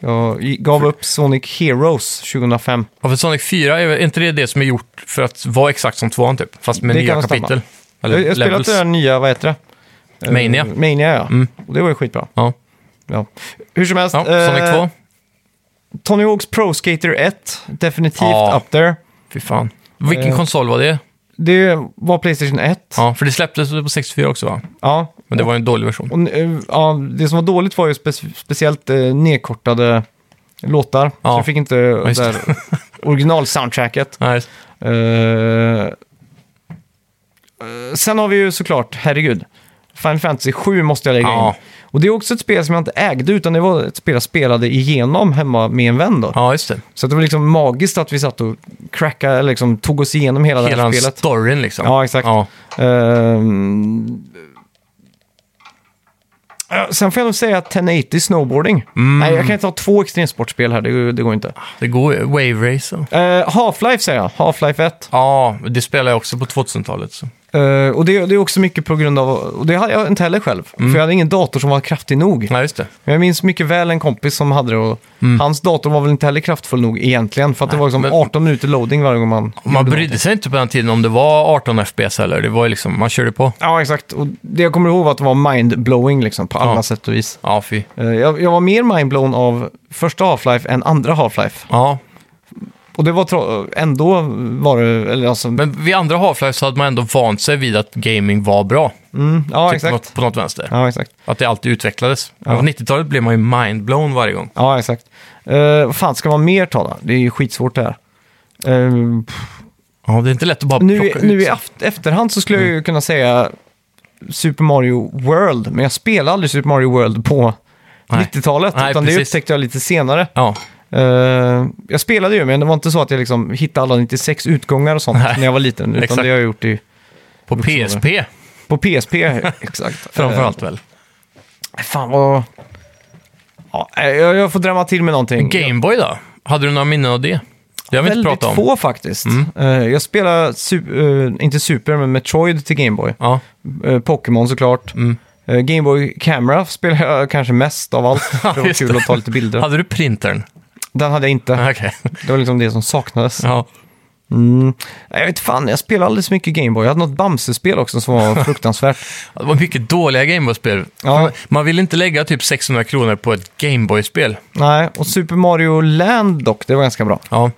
Speaker 1: Jag i- gav upp Sonic Heroes 2005.
Speaker 2: Ja, för Sonic 4, är väl- är inte det det som är gjort för att vara exakt som tvåan typ? Fast med
Speaker 1: Det kan
Speaker 2: nya
Speaker 1: nog stämma.
Speaker 2: kapitel? Eller
Speaker 1: Jag, jag spelade
Speaker 2: levels.
Speaker 1: det där nya, vad heter det? Eh,
Speaker 2: Mania.
Speaker 1: Mania, ja. Och det var ju skitbra.
Speaker 2: Ja,
Speaker 1: Ja. Hur som helst.
Speaker 2: ja Sonic
Speaker 1: eh,
Speaker 2: 2.
Speaker 1: Tony Hawk's Pro Skater 1, definitivt
Speaker 2: Ja.
Speaker 1: up there.
Speaker 2: Fy fan. Vilken
Speaker 1: eh,
Speaker 2: konsol var det?
Speaker 1: Det var Playstation 1. Ja.
Speaker 2: Ja, för det släpptes på 64 också va? Men det var ju en dålig version.
Speaker 1: Och, eh, ja, det som var dåligt var ju spe- speciellt eh, nedkortade låtar. Så
Speaker 2: Ja.
Speaker 1: jag fick inte
Speaker 2: just
Speaker 1: ja, original-soundtracket.
Speaker 2: Nej,
Speaker 1: Eh, eh, sen har vi ju såklart, herregud, Final Fantasy 7 måste jag lägga
Speaker 2: Ja.
Speaker 1: in. Och det är också ett spel som jag inte ägde, utan det var ett spel jag spelade igenom hemma med en vän då.
Speaker 2: Ja, just det.
Speaker 1: Så att det var liksom magiskt att vi satt och crackade, eller liksom tog oss igenom hela, det
Speaker 2: Hela
Speaker 1: här spelet.
Speaker 2: storyn liksom.
Speaker 1: Ja, exakt.
Speaker 2: Ja.
Speaker 1: Ehm, eh, Sen får jag nog säga 1080 snowboarding.
Speaker 2: Mm.
Speaker 1: Nej, jag kan inte ha två extremsportspel här, det, det går inte.
Speaker 2: Det går ju- Wave Race. och-
Speaker 1: Eh, Half-Life säger jag, Half-Life 1.
Speaker 2: Ja, det spelade jag också på 2000-talet. Så.
Speaker 1: Eh, och det, det är också mycket på grund av, och det hade jag inte heller själv,
Speaker 2: Mm.
Speaker 1: för jag hade ingen dator som var kraftig nog.
Speaker 2: Ja, just det.
Speaker 1: Men jag minns mycket väl en kompis som hade det och hans dator var väl inte heller kraftfull nog egentligen, för att det var liksom
Speaker 2: Mm. men-
Speaker 1: 18 minuter loading varje gång man...
Speaker 2: Man brydde sig inte på den tiden om det var 18 FPS eller. Det var ju liksom, man körde på.
Speaker 1: Ja, exakt. Och det jag kommer ihåg var att det var mind-blowing liksom, på alla
Speaker 2: Ja.
Speaker 1: sätt och vis.
Speaker 2: Ja, fy.
Speaker 1: Eh, Jag, jag var mer mindblown av första Half-Life än andra Half-Life.
Speaker 2: Ja,
Speaker 1: Och det var tro- ändå var det, eller alltså,
Speaker 2: men vid andra Half-Life så hade man ändå vant sig vid att gaming var bra.
Speaker 1: mm, ja,
Speaker 2: Typ
Speaker 1: exakt.
Speaker 2: något- På något vänster.
Speaker 1: ja exakt.
Speaker 2: Att det alltid utvecklades. På 90-talet blev man ju mindblown varje gång.
Speaker 1: Ja, exakt. Eh, vad fan ska man mer ta då? Det är ju skitsvårt det här. Eh,
Speaker 2: Ja, det är inte lätt att bara
Speaker 1: nu
Speaker 2: plocka
Speaker 1: i- nu
Speaker 2: ut. Mm.
Speaker 1: i aft- efterhand så skulle jag ju kunna säga Super Mario World, men jag spelade aldrig Super Mario World på
Speaker 2: Nej.
Speaker 1: 90-talet,
Speaker 2: Nej,
Speaker 1: utan det
Speaker 2: precis.
Speaker 1: upptäckte jag lite senare.
Speaker 2: Ja,
Speaker 1: Eh, jag spelade ju, men det var inte så att jag liksom hittade alla 96 utgångar och sånt
Speaker 2: Nej.
Speaker 1: när jag var liten, utan
Speaker 2: Exakt.
Speaker 1: det har jag gjort i,
Speaker 2: på PSP
Speaker 1: på PSP. exakt.
Speaker 2: framförallt väl.
Speaker 1: Eh, fan vad... Ja, eh, jag, jag får drämma till med någonting.
Speaker 2: Gameboy då? Hade du några minnen av det? Det har vi inte
Speaker 1: Väldigt
Speaker 2: pratat om.
Speaker 1: få
Speaker 2: Mm.
Speaker 1: faktiskt. Eh, jag spelade, su- eh, inte Super, men Metroid till Gameboy.
Speaker 2: Ja,
Speaker 1: Eh, Pokémon såklart.
Speaker 2: Mm.
Speaker 1: Eh, Gameboy Camera spelade jag kanske mest av allt. Det var
Speaker 2: Just
Speaker 1: kul
Speaker 2: det.
Speaker 1: att ta lite bilder.
Speaker 2: hade du printern?
Speaker 1: Den hade jag inte.
Speaker 2: Okej.
Speaker 1: Det var liksom det som saknades.
Speaker 2: Ja.
Speaker 1: Mm. Nej, Jag vet fan, jag spelade alldeles mycket Gameboy. Jag hade något Bamse-spel också som var fruktansvärt.
Speaker 2: Det var mycket dåliga Gameboy-spel.
Speaker 1: Ja.
Speaker 2: Man vill inte lägga typ 600 kronor på ett Gameboy-spel.
Speaker 1: Nej, och Super Mario Land dock, det var ganska bra.
Speaker 2: Ja,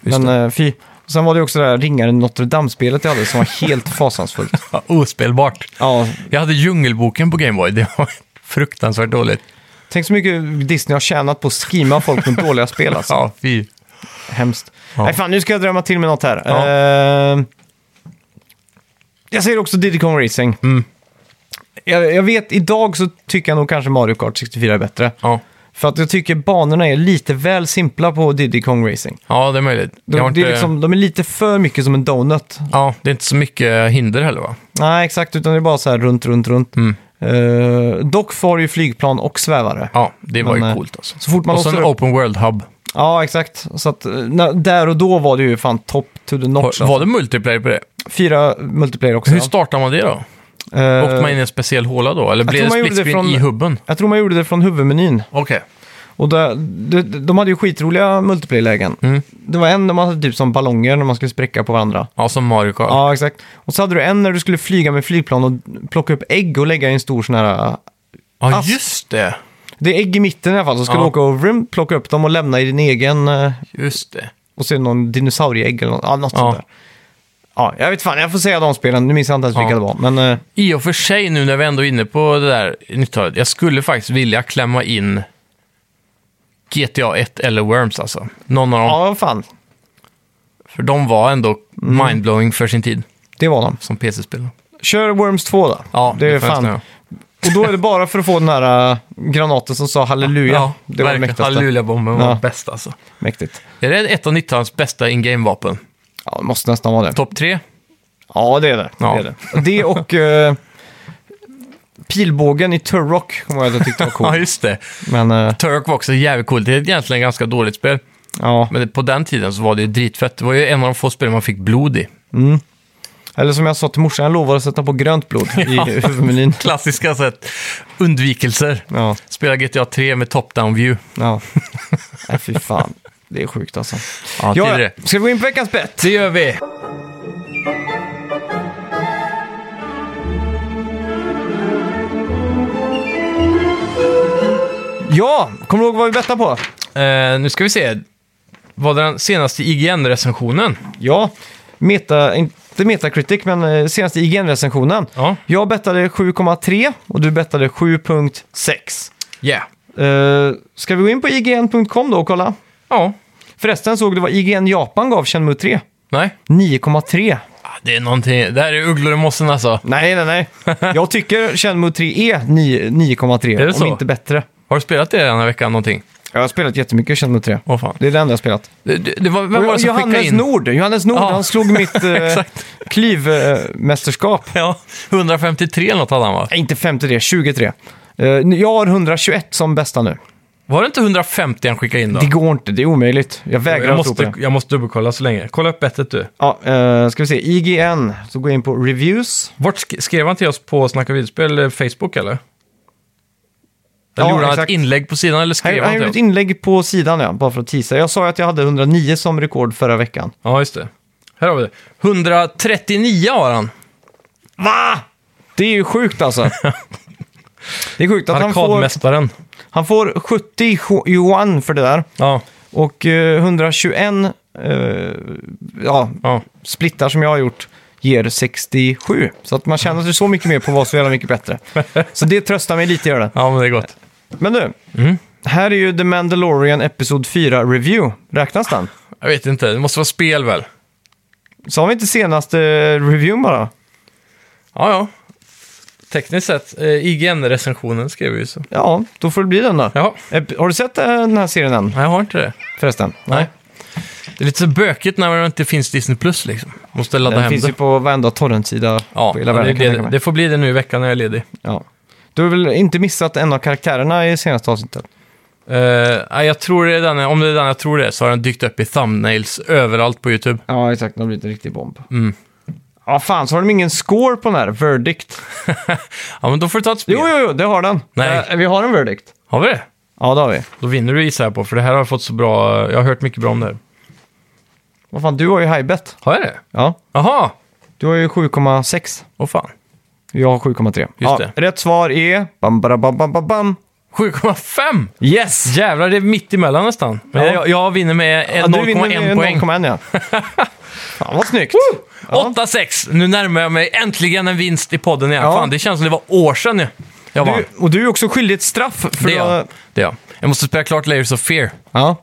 Speaker 2: just
Speaker 1: Men eh, fy. Och sen var det också det här ringaren Notre Dame-spelet jag hade som var helt fasansfullt.
Speaker 2: det. Ospelbart.
Speaker 1: Ja,
Speaker 2: Jag hade Djungelboken på Gameboy. Det var fruktansvärt dåligt.
Speaker 1: tänk så mycket Disney har tjänat på att skima folk med dåliga spel alltså.
Speaker 2: Ja, fy.
Speaker 1: Hemskt.
Speaker 2: Ja.
Speaker 1: Nej, fan, nu ska jag drömma till med något här.
Speaker 2: Ja.
Speaker 1: Eh, jag säger också Diddy Kong Racing.
Speaker 2: Mm.
Speaker 1: Jag, jag vet, idag så tycker jag nog kanske Mario Kart 64 är bättre.
Speaker 2: Ja.
Speaker 1: För att jag tycker banorna är lite väl simpla på Diddy Kong Racing.
Speaker 2: ja, det är möjligt. Jag har
Speaker 1: De, det är
Speaker 2: inte-
Speaker 1: liksom, de är lite för mycket som en donut.
Speaker 2: Ja, det är inte så mycket hinder heller va?
Speaker 1: Nej, exakt, utan det är bara så här runt, runt, runt.
Speaker 2: Mm.
Speaker 1: Eh, dock får ju flygplan och svävare.
Speaker 2: Ja, det var
Speaker 1: Men, eh,
Speaker 2: ju coolt alltså.
Speaker 1: Så fort man
Speaker 2: och så en
Speaker 1: låser upp...
Speaker 2: open world-hub.
Speaker 1: Ja, exakt. Så att, eh, när, där och då var det ju fan top to the notch. alltså.
Speaker 2: Var det multiplayer på det?
Speaker 1: Fyra multiplayer också.
Speaker 2: Hur
Speaker 1: ja.
Speaker 2: startar man det då?
Speaker 1: Eh,
Speaker 2: Åkte man in i en speciell håla då? Eller blev
Speaker 1: tror
Speaker 2: det
Speaker 1: man gjorde
Speaker 2: split
Speaker 1: det
Speaker 2: screen
Speaker 1: från-
Speaker 2: i hubben?
Speaker 1: Jag tror man gjorde det från huvudmenyn.
Speaker 2: Okej.
Speaker 1: Och där, de, de hade ju skitroliga multiplayer-lägen.
Speaker 2: Mm.
Speaker 1: Det var en där man hade typ som ballonger när man skulle spräcka på varandra.
Speaker 2: Ja, som Mario Kart.
Speaker 1: Ja, exakt. Och så hade du en när du skulle flyga med flygplan och plocka upp ägg och lägga i en stor sån här...
Speaker 2: Ja,
Speaker 1: ass.
Speaker 2: just det.
Speaker 1: Det är ägg i mitten i alla fall, så skulle
Speaker 2: Ja.
Speaker 1: du åka och vrum, plocka upp dem och lämna i din egen... eh,
Speaker 2: Just det.
Speaker 1: Och se någon dinosaurieägg eller något, ja, något
Speaker 2: Ja.
Speaker 1: sånt där. Ja, jag vet fan, jag får säga de spelen. Nu minns jag inte ens vilka
Speaker 2: Ja.
Speaker 1: det var. Men eh,
Speaker 2: I och för sig, nu när vi ändå är inne på det där 90-talet, jag skulle faktiskt vilja klämma in GTA 1 eller Worms alltså. Någon av dem.
Speaker 1: ja, fan.
Speaker 2: För de var ändå
Speaker 1: Mm.
Speaker 2: mindblowing för sin tid
Speaker 1: Det var de.
Speaker 2: som PC-spel.
Speaker 1: Kör Worms 2 då.
Speaker 2: Ja,
Speaker 1: det är
Speaker 2: får jag
Speaker 1: fan.
Speaker 2: säga.
Speaker 1: Och då är det bara för att få den här äh, granaten som sa halleluja.
Speaker 2: Ja,
Speaker 1: det var det
Speaker 2: verkligen.
Speaker 1: mäktigaste.
Speaker 2: Halleluja-bomben var
Speaker 1: Ja.
Speaker 2: bäst alltså.
Speaker 1: Mäktigt.
Speaker 2: Är det ett av 90-talets bästa in-game-vapen?
Speaker 1: Ja, det måste nästan vara det.
Speaker 2: Topp tre?
Speaker 1: Ja, det är det.
Speaker 2: Ja.
Speaker 1: Det, är det. det och äh, pilbågen i Turok kommer jag att jag tyckte var
Speaker 2: Ja,
Speaker 1: cool.
Speaker 2: just det.
Speaker 1: Men äh,
Speaker 2: Turk var också jävligt coolt. Det är egentligen ett ganska dåligt spel.
Speaker 1: ja,
Speaker 2: Men på den tiden så var det ju dritfett. Det var ju en av de få spel man fick blod i.
Speaker 1: eller som jag sa till morsan, jag lovar att sätta på grönt blod i huvudmenyn.
Speaker 2: Klassiska sätt. Undvikelser.
Speaker 1: Ja,
Speaker 2: Spela GTA 3 med top-down view.
Speaker 1: ja. Nej, fy fan. Det är sjukt alltså.
Speaker 2: Ja, till
Speaker 1: Ja,
Speaker 2: det.
Speaker 1: ska vi gå in på veckans bett?
Speaker 2: Det gör vi!
Speaker 1: Ja, kommer du ihåg vad vi bettade på?
Speaker 2: Eh, nu ska vi se. Var det den senaste IGN-recensionen?
Speaker 1: Ja, meta, inte Metacritic, men eh, senaste IGN-recensionen.
Speaker 2: Ja.
Speaker 1: Jag bettade 7,3 och du bettade 7,6.
Speaker 2: Yeah.
Speaker 1: Uh, ska vi gå in på IGN.com då och kolla?
Speaker 2: Ja.
Speaker 1: Förresten såg du vad IGN Japan gav Shenmue 3?
Speaker 2: Nej.
Speaker 1: 9,3.
Speaker 2: Ah, Det är någonting, det här är ugglor i mossen alltså.
Speaker 1: Nej, nej, nej. Jag tycker Shenmue 3 är 9 9,3,
Speaker 2: Är det
Speaker 1: om
Speaker 2: så?
Speaker 1: inte bättre.
Speaker 2: Har du spelat det den här veckan någonting?
Speaker 1: Jag har spelat jättemycket Shenmue 3.
Speaker 2: Åh fan.
Speaker 1: Det är det enda jag har spelat.
Speaker 2: Det, det, det var, vem var det som skickade
Speaker 1: Johannes
Speaker 2: in?
Speaker 1: Nord, Johannes Nord,
Speaker 2: Ja.
Speaker 1: han slog mitt eh,
Speaker 2: Exakt.
Speaker 1: klyvmästerskap.
Speaker 2: Ja, 153 eller något hade han va?
Speaker 1: Nej, inte 53, 23. Eh, jag har 121 som bästa nu.
Speaker 2: Var det inte 150 han skickade in då?
Speaker 1: Det går inte, det är omöjligt. Jag vägrar
Speaker 2: Jag
Speaker 1: att tro
Speaker 2: måste,
Speaker 1: på det.
Speaker 2: jag måste dubbelkolla så länge. Kolla upp bettet du.
Speaker 1: Ja, eh, ska vi se, IGN, så går jag in på reviews.
Speaker 2: Vart sk- skrev han till oss på Snacka videospel eh, Facebook eller? Eller
Speaker 1: Ja,
Speaker 2: gjorde han ett
Speaker 1: exakt.
Speaker 2: inlägg på sidan eller skrev
Speaker 1: Han,
Speaker 2: han,
Speaker 1: han gjorde ett
Speaker 2: till oss?
Speaker 1: inlägg på sidan, ja, bara för att tisa. Jag sa ju att jag hade 109 som rekord förra veckan.
Speaker 2: Ja, just det. Här har vi det. 139 har han.
Speaker 1: Va? Det är ju sjukt alltså. det är sjukt att han får,
Speaker 2: Arkadmästaren.
Speaker 1: han får 70 yuan för det där.
Speaker 2: Ja,
Speaker 1: Och eh, 121 eh, ja,
Speaker 2: ja.
Speaker 1: splittar som jag har gjort ger 67. Så att man känner sig så mycket mer på vad så jävla mycket bättre. Så det tröstar mig lite, gör det.
Speaker 2: ja, men det är gott.
Speaker 1: Men du,
Speaker 2: Mm.
Speaker 1: här är ju The Mandalorian Episod 4 Review. Räknas den?
Speaker 2: Jag vet inte, det måste vara spel väl?
Speaker 1: Sa vi inte senaste reviewn bara?
Speaker 2: Ja, ja. Tekniskt sett, eh, IGN-recensionen skrev vi ju så.
Speaker 1: Ja, då får det bli den då.
Speaker 2: Ja,
Speaker 1: Ep- Har du sett eh, den här serien än
Speaker 2: nej, jag har inte det.
Speaker 1: förresten?
Speaker 2: Nej. Det är lite så bökigt när det inte finns Disney Plus liksom. Måste ladda
Speaker 1: Den
Speaker 2: hem
Speaker 1: finns
Speaker 2: det.
Speaker 1: ju på varenda torrentsida
Speaker 2: Ja,
Speaker 1: på hela
Speaker 2: det,
Speaker 1: världen. kan jag tänka
Speaker 2: det,
Speaker 1: mig.
Speaker 2: det får bli det nu i veckan när jag är ledig.
Speaker 1: Ja. Du har väl inte missat en av karaktärerna i senaste avsnittet?
Speaker 2: Eh, nej, jag tror det är den, om det är den jag tror det är så har den dykt upp i thumbnails överallt på YouTube.
Speaker 1: Ja, exakt. Det har blivit en riktig bomb.
Speaker 2: Mm.
Speaker 1: Ja, fan, så har de ingen score på den här, verdict.
Speaker 2: Ja, men då får du ta ett spel.
Speaker 1: Jo, jo, jo, det har den.
Speaker 2: Nej.
Speaker 1: Eh, vi har en verdict.
Speaker 2: Har vi det?
Speaker 1: Ja, det har vi.
Speaker 2: Då vinner du gissar jag på, för det här har jag fått så bra, jag har hört mycket bra om det här.
Speaker 1: Vad fan, du har ju high bet.
Speaker 2: Har jag det?
Speaker 1: Ja,
Speaker 2: Jaha!
Speaker 1: du har ju 7,6.
Speaker 2: Åh fan.
Speaker 1: Jag har 7,3. Just
Speaker 2: det.
Speaker 1: Rätt svar är... Bam, bam, bam, bam, bam, bam.
Speaker 2: 7,5!
Speaker 1: Yes!
Speaker 2: Jävlar, det är mitt emellan nästan. Men
Speaker 1: Ja.
Speaker 2: jag, jag vinner med en-
Speaker 1: Ja, du vinner med
Speaker 2: 0,1 poäng.
Speaker 1: 0,1 ja. Fan vad snyggt. Ja.
Speaker 2: 8-6! Nu närmar jag mig äntligen en vinst i podden igen.
Speaker 1: Ja.
Speaker 2: Fan, det känns som det var år sedan nu. Jag vann.
Speaker 1: Du, och du är också skyldig ett straff. För
Speaker 2: Det är
Speaker 1: då-
Speaker 2: jag. Det är jag. Jag måste spela klart Layers of Fear.
Speaker 1: Ja.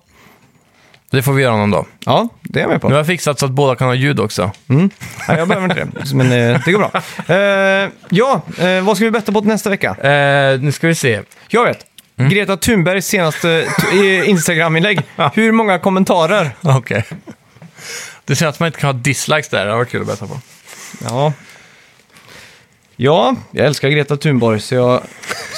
Speaker 2: Det får vi göra någon dag.
Speaker 1: ja, det är jag med på.
Speaker 2: Nu har jag fixat så att båda kan ha ljud också.
Speaker 1: Nej, jag behöver inte det, men eh, det går bra. Eh, ja, eh, vad ska vi betta på till nästa vecka?
Speaker 2: Eh, nu ska vi se.
Speaker 1: Jag vet. Greta Thunbergs senaste t- eh, Instagram-inlägg. Hur många kommentarer?
Speaker 2: Okej. Det ser att man inte kan ha dislikes där. Det har varit kul att betta på.
Speaker 1: Ja. Ja, jag älskar Greta Thunberg så jag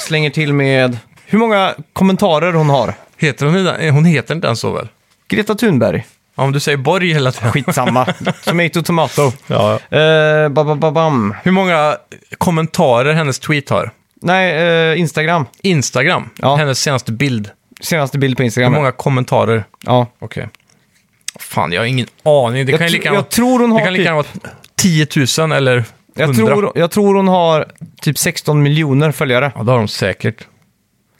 Speaker 1: slänger till med hur många kommentarer hon har.
Speaker 2: Heter hon, inte- eh, hon heter inte ens så väl?
Speaker 1: Greta Thunberg.
Speaker 2: Ja, om du säger Borg hela tiden.
Speaker 1: Skitsamma. Tomato, tomato.
Speaker 2: Ja.
Speaker 1: Eh, ba, ba, ba, bam.
Speaker 2: Hur många kommentarer hennes tweet har?
Speaker 1: Nej, eh, Instagram.
Speaker 2: Instagram,
Speaker 1: Ja.
Speaker 2: hennes senaste bild.
Speaker 1: Senaste bild på Instagram.
Speaker 2: Hur många kommentarer?
Speaker 1: Ja.
Speaker 2: Okej. Fan, jag har ingen aning. Det
Speaker 1: Jag,
Speaker 2: kan ju
Speaker 1: tr-
Speaker 2: lika gärna
Speaker 1: jag tror hon
Speaker 2: det
Speaker 1: har
Speaker 2: kan
Speaker 1: typ,
Speaker 2: lika gärna vara 10 000 eller 100.
Speaker 1: jag, tror, jag tror hon har typ 16 miljoner följare.
Speaker 2: Ja, det har de säkert.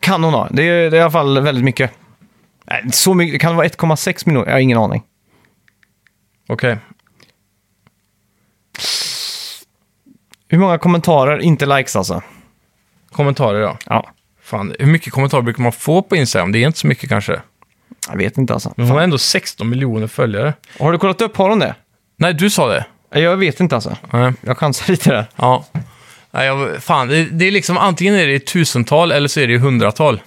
Speaker 1: Kan hon ha. Det är, det är i alla fall väldigt mycket. Nej, så mycket. Kan det vara 1,6 miljoner? Jag har ingen aning.
Speaker 2: Okej.
Speaker 1: Hur många kommentarer? Inte likes alltså.
Speaker 2: Kommentarer ja.
Speaker 1: Ja,
Speaker 2: Fan, hur mycket kommentarer brukar man få på Instagram? Det är inte så mycket kanske.
Speaker 1: jag vet inte alltså.
Speaker 2: Men hon har ändå 16 miljoner följare.
Speaker 1: Har du kollat upp? Har hon det?
Speaker 2: Nej, du sa det.
Speaker 1: Nej, Jag vet inte alltså.
Speaker 2: Nej.
Speaker 1: Jag chansar lite där.
Speaker 2: Ja. Nej, jag, fan, det, det är liksom antingen är det i tusental eller så är det i hundratal.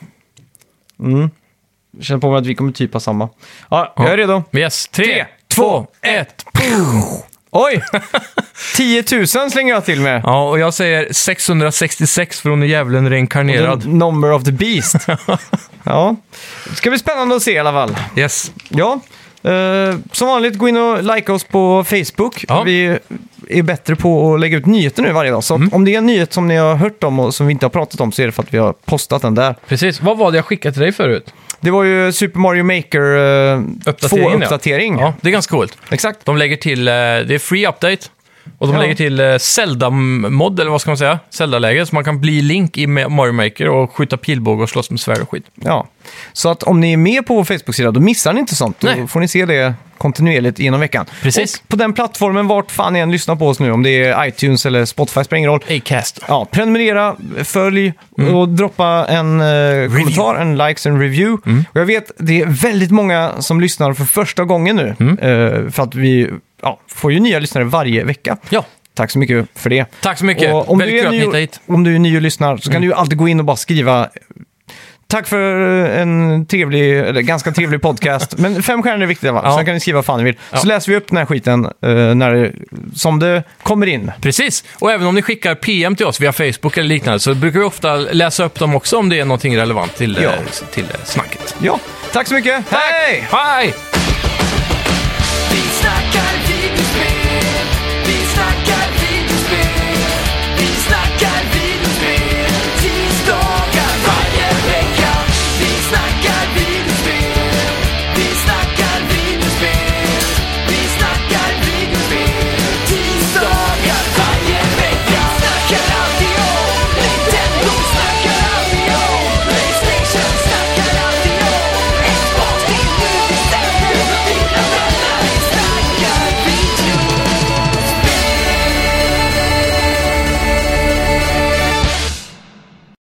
Speaker 1: Jag känner på mig att vi kommer typ ha samma. Ja, jag är redo.
Speaker 2: Men Yes, tre,
Speaker 1: Tre,
Speaker 2: två, ett.
Speaker 1: Oj! 10 000 slänger jag till med.
Speaker 2: Ja, och jag säger 666 för hon är djävulen reinkarnerad.
Speaker 1: The number of the beast. ja. Det ska bli spännande att se i alla fall.
Speaker 2: Yes.
Speaker 1: Ja. Eh, som vanligt, gå in och like oss på Facebook.
Speaker 2: Ja.
Speaker 1: Vi är bättre på att lägga ut nyheter nu varje dag. Så
Speaker 2: Mm.
Speaker 1: om det är en nyhet som ni har hört om och som vi inte har pratat om så är det för att vi har postat den där.
Speaker 2: Precis. Vad var det jag skickade till dig förut?
Speaker 1: Det var ju Super Mario Maker
Speaker 2: Uppdateringen,
Speaker 1: 2-uppdatering.
Speaker 2: Ja, det är ganska coolt.
Speaker 1: Exakt.
Speaker 2: De lägger till, eh, det är free update. Och de
Speaker 1: Ja.
Speaker 2: lägger till eh, Zelda-mod, eller vad ska man säga? Zelda-läge, så man kan bli Link i Ma- Mario Maker och skjuta pilbåge och slåss med svärd och skit.
Speaker 1: Ja. Så att om ni är med på vår Facebook-sida, då missar ni inte sånt. Då
Speaker 2: Nej.
Speaker 1: får ni se det kontinuerligt genom veckan.
Speaker 2: Precis.
Speaker 1: Och på den plattformen, vart fan ni än lyssnar på oss nu, om det är iTunes eller Spotify, spelar ingen roll.
Speaker 2: Acast.
Speaker 1: Ja, prenumerera, följ
Speaker 2: Mm.
Speaker 1: och droppa en eh, kommentar, en likes, en review.
Speaker 2: Mm. Mm.
Speaker 1: Och jag vet, det är väldigt många som lyssnar för första gången nu. Eh, för att vi ja, får ju nya lyssnare varje vecka.
Speaker 2: Ja,
Speaker 1: Tack så mycket för det.
Speaker 2: tack så mycket.
Speaker 1: Och om, du
Speaker 2: Väldigt kul
Speaker 1: är
Speaker 2: att ni hittade
Speaker 1: ny,
Speaker 2: hit. Mm.
Speaker 1: om du är ny och lyssnar så kan du ju alltid gå in och bara skriva Tack för en trevlig, eller ganska trevlig podcast. Men fem stjärnor är viktiga va?
Speaker 2: Ja.
Speaker 1: Sen kan ni skriva vad fan ni vill.
Speaker 2: Ja.
Speaker 1: Så läser vi upp den här skiten eh, när, det- som det kommer in.
Speaker 2: Precis, och även om ni skickar PM till oss via Facebook eller liknande så brukar vi ofta läsa upp dem också om det är någonting relevant till,
Speaker 1: Ja.
Speaker 2: eh, till eh, snacket.
Speaker 1: Ja, tack så mycket. Hej!
Speaker 2: Hej!